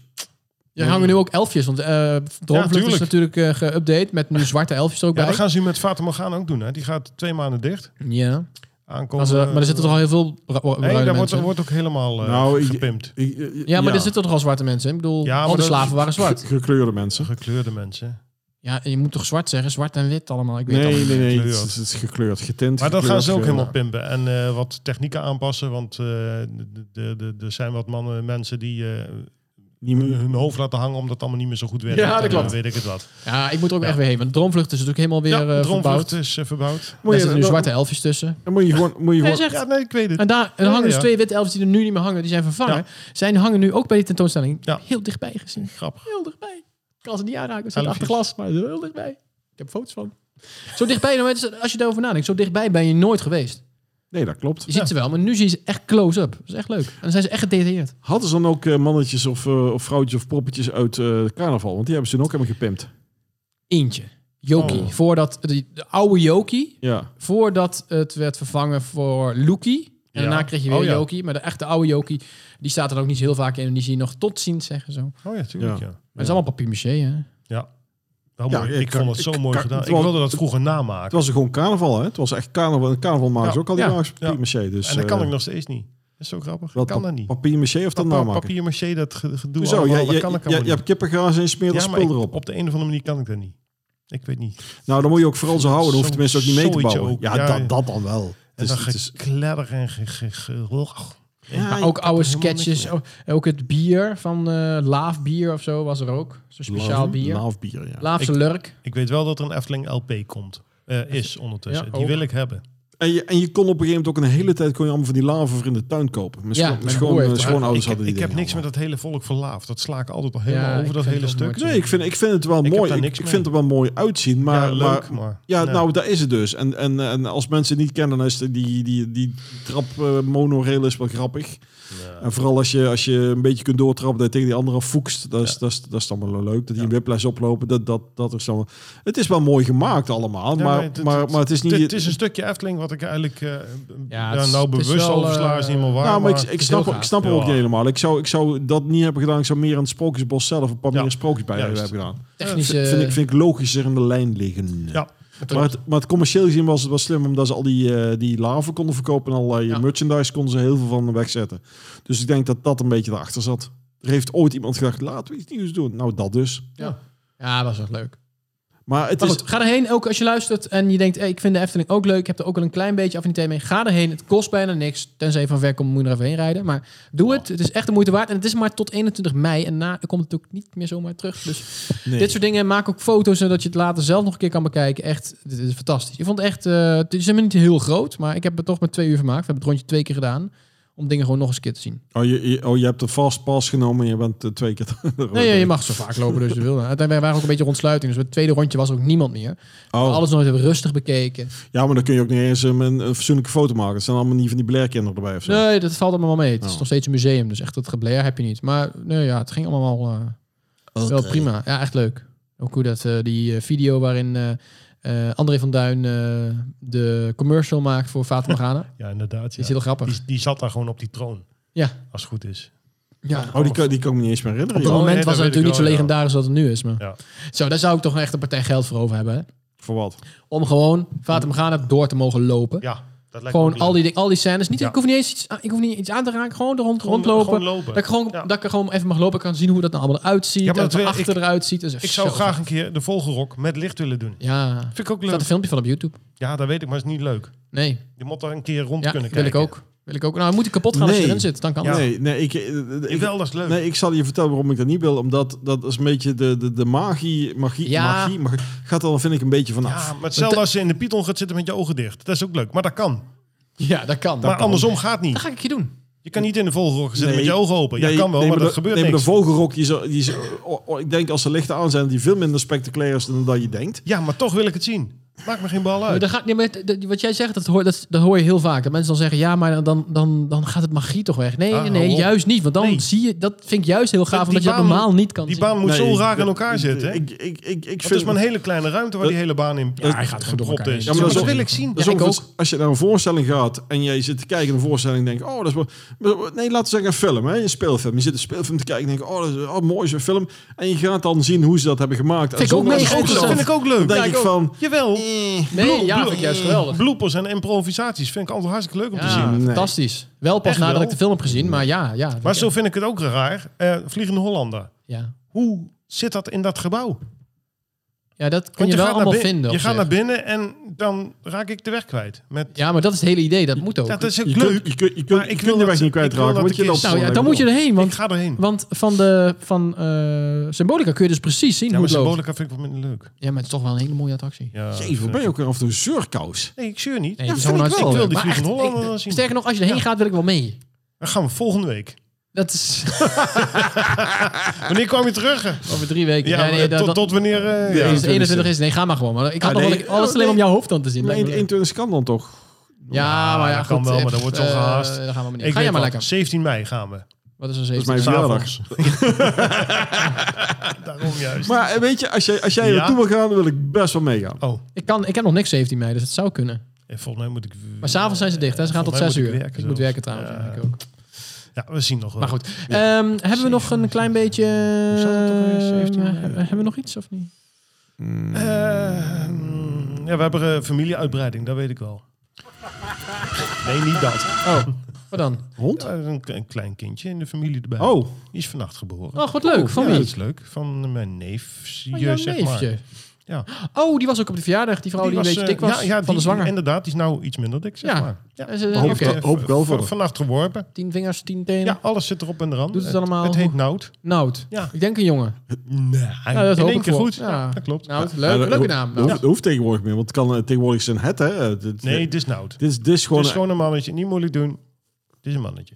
Ja, hangen nu ook elfjes, want eh Droomvlucht is tuurlijk. natuurlijk eh geüpdate met nu zwarte elfjes er ook Ja, bij. dat gaan ze nu met Fata Morgana ook doen. Hè? Die gaat twee maanden dicht. Ja, Aankomen. eh, maar, ze- maar er zitten toch al heel veel bra- bruine Nee, daar wordt, mensen. wordt ook helemaal eh Nou, ik- gepimpt. Ik- eh, ja, maar er zitten toch al zwarte mensen in? Ik bedoel, Ja, maar alle dat- slaven waren zwart. Gekleurde mensen. Gekleurde mensen. Ja, en je moet toch zwart zeggen? Zwart en wit allemaal. Ik weet het Nee, allemaal nee, niet. nee. Het Gekleurd. is, het is gekleurd, getint. Maar dat gaan gekleurd, ze ook ge- helemaal pimpen. En eh, wat technieken aanpassen. Want eh, de- de- de- er zijn wat mannen, mensen die eh, Niet meer. hun hoofd laten hangen omdat het allemaal niet meer zo goed werkt. Ja, dat En, eh, klopt. Weet ik het wat. Ja, ik moet er ook echt weer heen. Want Droomvlucht is natuurlijk helemaal Ja, weer de eh droomvlucht verbouwd. is eh, verbouwd. Moet je- Daar zitten nu dan- zwarte elfjes tussen. Dan moet je gewoon... Moet je Nee, gewoon zeg- Ja, nee, ik weet het. En daar en er Ja, hangen dus ja. twee witte elfjes die er nu niet meer hangen. Die zijn vervangen. Ja. Zijn hangen nu ook bij die tentoonstelling. Ja. Heel dichtbij gezien. Grappig. Heel dichtbij. Ik kan ze niet aanraken. Ze zijn achter Elfjes. glas, maar heel dichtbij. Ik heb foto's van. Zo dichtbij, nou, het is- als je daarover nadenkt, zo dichtbij ben je nooit geweest. nee, dat klopt. Je ziet ze wel, maar nu zie je ze echt close-up. Dat is echt leuk. En dan zijn ze echt gedetailleerd. Hadden ze dan ook eh, mannetjes of, eh, of vrouwtjes of poppetjes uit eh, carnaval? Want die hebben ze toen ook helemaal gepimpt. Eentje. Joki. Oh. Voordat de, de oude Joki, Ja. voordat het werd vervangen voor Loekie. En Ja. daarna kreeg je weer Oh, ja. Joki. Maar de echte oude Joki, die staat er ook niet zo heel vaak in. En die zie je nog tot ziens zeggen zo. Maar Oh ja, tuurlijk. Ja. het is allemaal papier-maché, hè? Ja. Wel Ja, mooi. ik ik kan- vond het zo ik mooi kan- gedaan. het Ik was- wilde dat vroeger Het namaken. was gewoon carnaval, hè? Het was echt carnaval. En carnaval maken ze Ja, ook al die ja, ja, ja. papier-maché. Dus, en dat kan eh, ik nog steeds niet. Dat is zo grappig. wel kan pa- dat niet. Papier-maché of dat Pa- namaken? papier maché, dat ge- gedoe Hoezo? allemaal, Je, dat je, kan ik je, allemaal je hebt niet. kippengaas en je smeert er Ja, maar spul ik- erop. op de een of andere manier kan ik dat niet. Ik weet niet. Nou, dan moet je ook vooral zo houden. Dan hoef je tenminste Zo- ook niet mee te zoiets bouwen. ook, Ja, ja, ja. dat, dat dan wel. Dus En Het is, dan het is, gekledder en ge- ge- ge- ja, Maar ook oude er helemaal niks sketches. mee. Ook- Ook het bier van eh Laaf bier of zo was er ook. Zo'n speciaal Laaf- bier. Laafbier, ja. Laafse Ik- lurk. Ik weet wel dat er een Efteling LP komt. eh, is ondertussen. Ja, Die ook. wil ik hebben. En je, en je kon op een gegeven moment ook een hele tijd kon je allemaal van die laven in de tuin kopen. Mijn, Ja, schoon- mijn schoon- broer heeft eh, er- schoonouders ik hadden die ik heb dingen niks met dat hele volk verlaafd. Dat sla ik altijd al helemaal Ja, ik over, dat vind hele het ook stuk. nooit allemaal. Nee, ik vind, ik vind het wel heb mooi. daar Ik, niks ik mee. vind het wel mooi uitzien. Maar, ja, leuk, maar- maar... ja, nee. nou, daar is het dus. En, en, en als mensen het niet kennen, dan is die, die, die, die trap eh, monorail is wel grappig. En vooral als je, als je een beetje kunt doortrappen dat je tegen die andere af foekst. Dat is, dat, is, dat is dan wel leuk. Dat die een whiplash oplopen. Dat, dat, dat is dan wel- Het is wel mooi gemaakt allemaal. Ja, maar, nee, dit- maar, maar het is niet... Dit is een stukje Efteling wat ik eigenlijk eh, Ja, ja, het is- nou het is bewust wel, over sla is eh, niet meer waar. Nou, maar ik, maar- ik is snap, heel ik gaaf. snap hem ook Ja. niet helemaal. Ik zou, ik zou dat niet hebben gedaan. Ik zou meer aan het Sprookjesbos zelf een paar Ja, meer sprookjes bij juist. hebben gedaan. Technische... Vind- vind, ik, vind ik logischer in de lijn liggen. ja, Maar, het, maar het commercieel gezien was het wel slim, omdat ze al die, eh, die laven konden verkopen en allerlei Ja. merchandise konden ze heel veel van wegzetten. Dus ik denk dat dat een beetje erachter zat. Er heeft ooit iemand gedacht, laten we iets nieuws doen. Nou, dat dus. Ja, was echt leuk. Maar het Maar is... goed, ga erheen. Ook als je luistert en je denkt, hey, ik vind de Efteling ook leuk. Ik heb er ook al een klein beetje affiniteit mee. Ga erheen. Het kost bijna niks. Tenzij je van ver komt, moet je er even heen rijden. Maar doe het. Het is echt de moeite waard. En het is maar tot 21 mei. En na komt het ook niet meer zomaar terug. Dus nee. dit soort dingen. Maak ook foto's, zodat je het later zelf nog een keer kan bekijken. Echt, dit is fantastisch. Ik vond het echt, eh, het is helemaal niet heel groot. Maar ik heb het toch met twee uur vermaakt. We hebben het rondje twee keer gedaan. Om dingen gewoon nog eens een keer te zien. oh, je, je- oh, je hebt de fast pass genomen en je bent eh, twee keer... *laughs* Nee, ja, je mag zo vaak lopen dus je wil. Uiteindelijk waren we ook een beetje rondsluiting. Dus bij het tweede rondje was er ook niemand meer. Oh. Alles nooit hebben we rustig bekeken. Ja, maar dan kun je ook niet eens een, een, een fatsoenlijke foto maken. Het zijn allemaal niet van die blerkinderen erbij of zo. Nee, dat valt allemaal wel mee. Het is Oh. nog steeds een museum, dus echt dat geblair heb je niet. Maar nee, ja, het ging allemaal wel, eh, wel prima. Ja, echt leuk. Ook hoe dat eh, die eh, video waarin eh, eh, André van Duin eh, de commercial maakt voor Fata Morgana. Die ja, inderdaad. ja. is heel grappig. Die, die zat daar gewoon op die troon, Ja, als het goed is. ja. Oh, die kan, die kan ik me niet eens meer herinneren. Op joh. dat nee, dat moment was het weet ik natuurlijk niet zo wel, ja. legendarisch als het nu is. Maar. Ja. Zo, daar zou ik toch echt een partij geld voor over hebben. Hè? Voor wat? Om gewoon Fata Morgana door te mogen lopen. Ja, Dat lijkt me Gewoon niet al die, ding- al die scènes. Niet, Ja. Ik, hoef niet eens iets, aan- ik hoef niet iets aan te raken. Gewoon er rond, Gewoon- rondlopen. gewoon lopen. Dat, ik gewoon, Ja. dat ik er gewoon even mag lopen. kan zien hoe dat nou allemaal eruit ziet. Ja, Ja, maar dat dat wil- achter ik- eruit ziet. Dat is echt Ik zou zo graag vet. een keer de volgerok met licht willen doen. Ja, er Vind ik ook leuk. staat een filmpje van op YouTube. Ja, dat weet ik, maar het is niet leuk. Nee, Je moet daar een keer rond ja, wil kunnen kijken. ik ook. Wil ik ook. Nou, moet ik kapot gaan als Nee. je erin zit. Dan kan het. Nee, nee, ik, eh, eh, ik, Wel, dat is leuk. nee, ik zal je vertellen waarom ik dat niet wil. Omdat dat is een beetje de, de, de magie, magie, Ja. magie, magie. Gaat er dan vind ik een beetje vanaf. Ja, maar hetzelfde als je in de Python gaat zitten met je ogen dicht. Dat is ook leuk, maar dat kan. Ja, dat kan. maar andersom gaat Dat niet. ga ik je doen. Je kan niet in de volgerok zitten Nee. met je ogen open. Nee, ja, kan wel, nee, maar, dat de- gebeurt nee, maar niks. de vogelrok, die zo, die zo, oh, oh, ik denk als de lichten aan zijn, die veel minder spectaculair is dan dat je denkt. Ja, maar toch wil ik het zien. Maakt me geen bal Maar uit. dat gaat, nee, maar dat- wat jij zegt, dat hoor, dat, dat hoor je heel vaak. Dat mensen dan zeggen, ja, maar dan, dan, dan gaat het magie toch weg. Nee, Ah, hou nee, op. juist niet. Want dan Nee. zie je, dat vind ik juist heel gaaf, Die omdat je dat baan- normaal niet kan Die zien. baan moet Nee, zo raar dat- in elkaar zitten. Ik, ik, ik, ik het is vind maar een hele kleine ruimte waar die hele baan in Ja, hij gaat gewoon door gepropt is. elkaar Ja, heen. Ja, maar maar dat dat is- wil ik zien. Dat is Ja, ik ongeveer ook. Als je naar een voorstelling gaat en jij zit te kijken naar een voorstelling en denkt, oh, dat is wel... Nee, laten we zeggen een film, hè, een speelfilm. Je zit een speelfilm te kijken en denk, oh, dat is oh, mooi zo'n film. En je gaat dan zien hoe ze dat hebben gemaakt. Vind en ik ook zonder mega dat- Dat interessant. vind ik ook leuk. Dan denk Ja, ik van, Jawel. Nee, ja, vind ik juist geweldig. Bloepers en improvisaties vind ik altijd hartstikke leuk om te Ja, zien. Nee. fantastisch. Wel pas Echt nadat wel? ik de film heb gezien, maar ja. ja Maar ja. zo vind ik het ook raar. Eh, Vliegende Hollander. Ja, Hoe zit dat in dat gebouw? ja dat kun Want je, wel allemaal naar binnen, vinden. Je op gaat zich. naar binnen en dan raak ik de weg kwijt. Met, Ja, maar dat is het hele idee. Dat moet ook. dat is ook je leuk. kunt, je kunt, je Maar kunt, ik je wil kunt de dat- weg niet ik wil kwijtraken, dat want je de loopt kist- nou ja, gewoon dan even moet je erheen. ik Want, ga erheen. want van, de, van eh, Symbolica kun je dus precies zien ja, hoe maar het loopt. Symbolica vind ik wat minder leuk. Ja, maar het is toch wel een hele mooie attractie. Ja, door. Jezus, wat ben je ook weer af en toe een zeurkous? Nee, ik zeur niet. Nee, Ja, het is vind gewoon ik hartstikke wel. Ik wil leuk. die Maar echt, Vliegende Hollander ik- wel zien. Sterker nog, als je erheen gaat, wil ik wel mee. Dan gaan we volgende week. Dat is Wanneer kwam je terug? Ja, *laughs* over drie weken. Ah. nee, nee, eh, dat- tot, dat- tot wanneer... eh, Ja. ja. Dus 21 is, nee, ga maar gewoon. Maar ik had Ah, nog wel nee. ik- alles alleen om jouw hoofd dan te zien. Maar lijkt me leuk. 21 kan dan toch? Ja, maar ja, dat goed. kan wel, eh, maar dan wordt zo eh, gehaast. Dan gaan we maar niet. Ik Ga jij weet maar wat, lekker. 17 mei gaan we. Wat is er Dat is zeven? mijn verjaardag. *laughs* S'avonds. Daarom juist. Maar eh, weet je, als jij, als jij Ja. naartoe wil gaan, wil ik best wel meegaan. oh, Ik, kan, ik heb nog niks 17 mei, dus het zou kunnen. eh, volgens mij moet ik... Maar s'avonds zijn ze dicht, hè? Ze gaan tot Volgens mij 6 uur. moet ik werken ik moet zelfs. werken Ja. trouwens. Ja, ik ook. Ja, we zien nog wel. Maar goed. Ehm, hebben we nog een klein beetje... zat het ook alweer, 17 mei? eh, hebben hebben we nog iets of niet? Eh, mm, ja, we hebben eh, familieuitbreiding, dat weet ik wel. Nee, niet dat. Oh, wat dan? Hond? Ja, een, een klein kindje in de familie erbij. Oh, Die is vannacht geboren. Oh, wat leuk. Van ja, dat wie? is leuk. Van mijn neefje, Van jouw zeg neefje. maar. Ja. Oh, die was ook op de verjaardag. Die vrouw Oh, die, een eh, beetje dik was. ja, ja, van die- de zwanger. Inderdaad, die is nou iets minder dik, zeg Ja. maar. Ja. En ze- Die heeft, oké. eh, Hoop ik wel voor v- hem. Vannacht geworpen. Tien vingers, tien tenen. Ja, alles zit erop en eraan. Doet het allemaal Het, heet Nout. Nout. Ja. Ik denk een jongen. Nee, Ja, dat in hoop één ik keer wel. goed. Ja. Nou. Ja. dat klopt. Nout, Ja, leuk. dat Leuke hoeft- Dat naam. Nout. hoeft, dat hoeft tegenwoordig meer, want het kan eh, tegenwoordig zijn het, hè? Eh, dit- Nee, het is Nout. Dit is, dit is gewoon. het is gewoon een mannetje. Niet moeilijk doen. Het is een mannetje.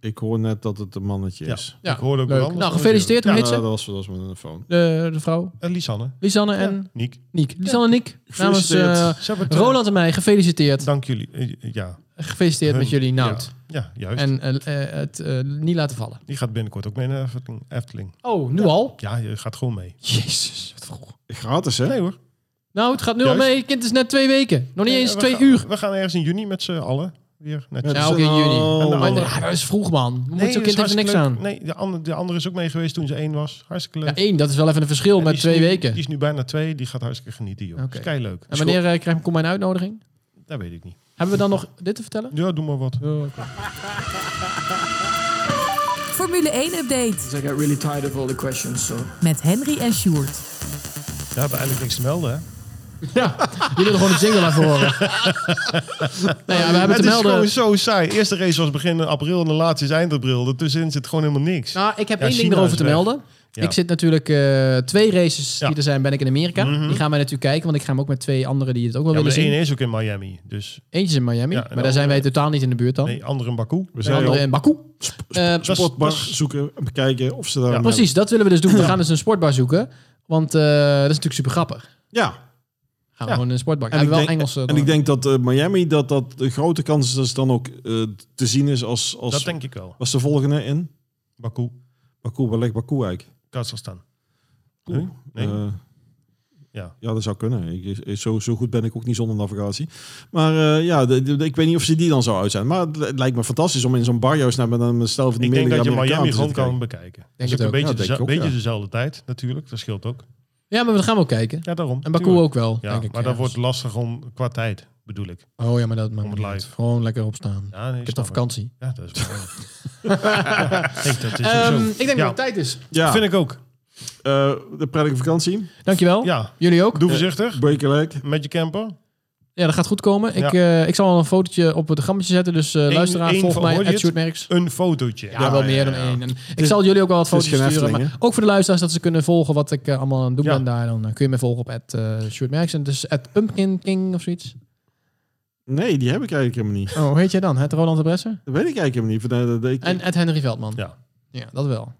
Ik hoor net dat het een mannetje Ja. is. Ja, Ik hoorde ook leuk. wel anders. Nou, gefeliciteerd. Hoe Ja, heet ze? dat was, dat was mijn phone. De, de vrouw. En Eh, Lisanne. Lisanne en Niek. Niek. Lisanne en Niek. Namens Gefeliciteerd. eh, Ze hebben het, eh, Roland en mij. Gefeliciteerd. Dank jullie. Eh, Ja, Gefeliciteerd met Hun. jullie Nout. ja juist. En eh, eh, het eh, niet laten vallen. Die gaat binnenkort ook mee naar Efteling. Efteling. Oh, nu al? Ja, je gaat gewoon mee. Jezus, wat vroeg. Gratis, hè? Nee hoor. Nou, het gaat nu Juist. al mee. Kind is net twee weken. Nog niet Nee, eens we twee gaan- uur. We gaan ergens in juni met z'n allen weer. Net Ja, zo. Ja, dus oké, in een- juni. oh, En de Maar andere- ja, dat is vroeg, man. Moet zo'n dat is kind heeft niks hartstikke aan. leuk. Nee, de, ander, de andere is ook mee geweest toen ze één was. Hartstikke leuk. Ja, één, dat is wel even een verschil En die met is twee nu- weken. Die is nu bijna twee. Die gaat hartstikke genieten, joh. Oké. Is kei leuk. En wanneer eh, krijg, komt mijn uitnodiging? Dat weet ik niet. Hebben we dan nog dit te vertellen? Ja, doe maar wat. Formule 1 update 'Cause I got really tired of all the questions, so met Henry en Sjoerd. Ja, we hebben eigenlijk niks te melden, hè? Ja, Ah. jullie willen gewoon een jingle laten horen. *laughs* nou ja, we hebben het te is melden... gewoon zo saai. Eerste race was begin april en de laatste is eind april. Daartussenin zit gewoon helemaal niks. Nou, ik heb Ja, één ding China erover is te weg. melden. Ja. Ik zit natuurlijk eh, twee races Ja. Mhm. die er zijn, ben ik in Amerika. Die gaan wij natuurlijk kijken, want ik ga hem ook met twee anderen die het ook wel ja, maar willen de zien. ene is ook in Miami. Dus Eentje is in Miami, Ja, en de maar daar zijn wij totaal niet in de buurt dan. nee, andere in Baku. We de zijn andere al in Baku. Eh, dat is- sportbar dat is- zoeken en bekijken of ze daar. een precies, dat willen we dus doen. We gaan dus een sportbar zoeken, want eh, dat is natuurlijk super grappig. hebben. Ja. Gaan Ja. we gewoon in een sportbar. En En ik, wel denk, Engels. eh, en ik dan. denk dat eh, Miami dat dat de grote kans is dat ze dan ook eh, te zien is als als Dat denk ik wel. was de volgende in Baku, Baku. Waar ligt Baku eigenlijk? Kazachstan. Oeh. Huh? Nee? Eh, Ja. ja, dat zou kunnen. Ik, ik- zo, zo goed ben ik ook niet zonder navigatie. Maar eh, ja, de- de- ik weet niet of ze die dan zou uit zijn. Maar het, het lijkt me fantastisch om in zo'n barjo's naar met een stel van die ik denk dat je menige Amerikanen Miami te gewoon zitten kan bekijken. Dat is ook het een ook. beetje, Ja, denk deze- ik ook, beetje ja. dezelfde tijd natuurlijk. Dat scheelt ook. Ja, maar we gaan wel kijken. Ja, daarom. En Baku Tuurlijk. ook wel, Ja, denk ik. dus- maar dat ergens. wordt lastig om qua tijd. bedoel ik. Oh ja, maar dat maakt Om het me niet uit. live. Gewoon lekker opstaan. Ja, nee, ik heb toch snap vakantie. Ja, dat *laughs* is waar. ik denk dat is ook Ehm, zo. ik denk Ja. dat het tijd is. Ja, Vind ik ook. eh, de prettige vakantie. Dankjewel. Ja, Jullie ook. doe voorzichtig. Break a leg. Met je camper. Ja, dat gaat goed komen. Ik, Ja. eh, ik zal al een fotootje op het grammetje zetten. Dus eh Eén- luisteraar, één volg van- mij, hoor je at het? Shootmerks. Een fotootje. Ja, wel meer dan ja. één. En ik is- zal jullie ook wel wat het is foto's geen sturen. Efteling, Maar ook voor de luisteraars dat ze kunnen volgen wat ik eh, allemaal aan het doen Ja. ben daar. Dan eh, kun je me volgen op at, eh Shootmerks. En dus at Pumpkin King of zoiets. Nee, die heb ik eigenlijk helemaal niet. Oh, hoe heet jij dan? Het Roland de Bresser? Dat weet ik eigenlijk helemaal niet. Van, eh, dat- dat- ik- En at Henry Veldman. Ja. Ja, dat wel.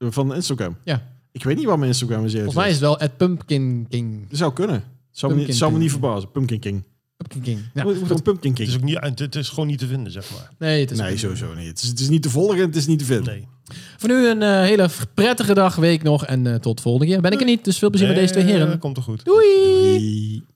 van Instagram. Ja. Ik weet niet waar mijn Instagram is. Volgens mij is het wel at Pumpkin King. Het zou kunnen. Zou me, Pumpkin niet, zou me King. niet verbazen. Pumpkin King. Pumpkin King. Ja, Moet- moet goed. een Pumpkin Het King. is, ook niet, het is gewoon niet te vinden, zeg maar. Nee, het is nee, goed. sowieso niet. Het is, het is niet te volgen en het is niet te vinden. Nee. Voor nu een eh, hele prettige dag, week nog. En eh, tot volgende keer. Ben ik er niet, dus veel plezier met deze twee Nee, heren. Komt er goed. Doei! Die-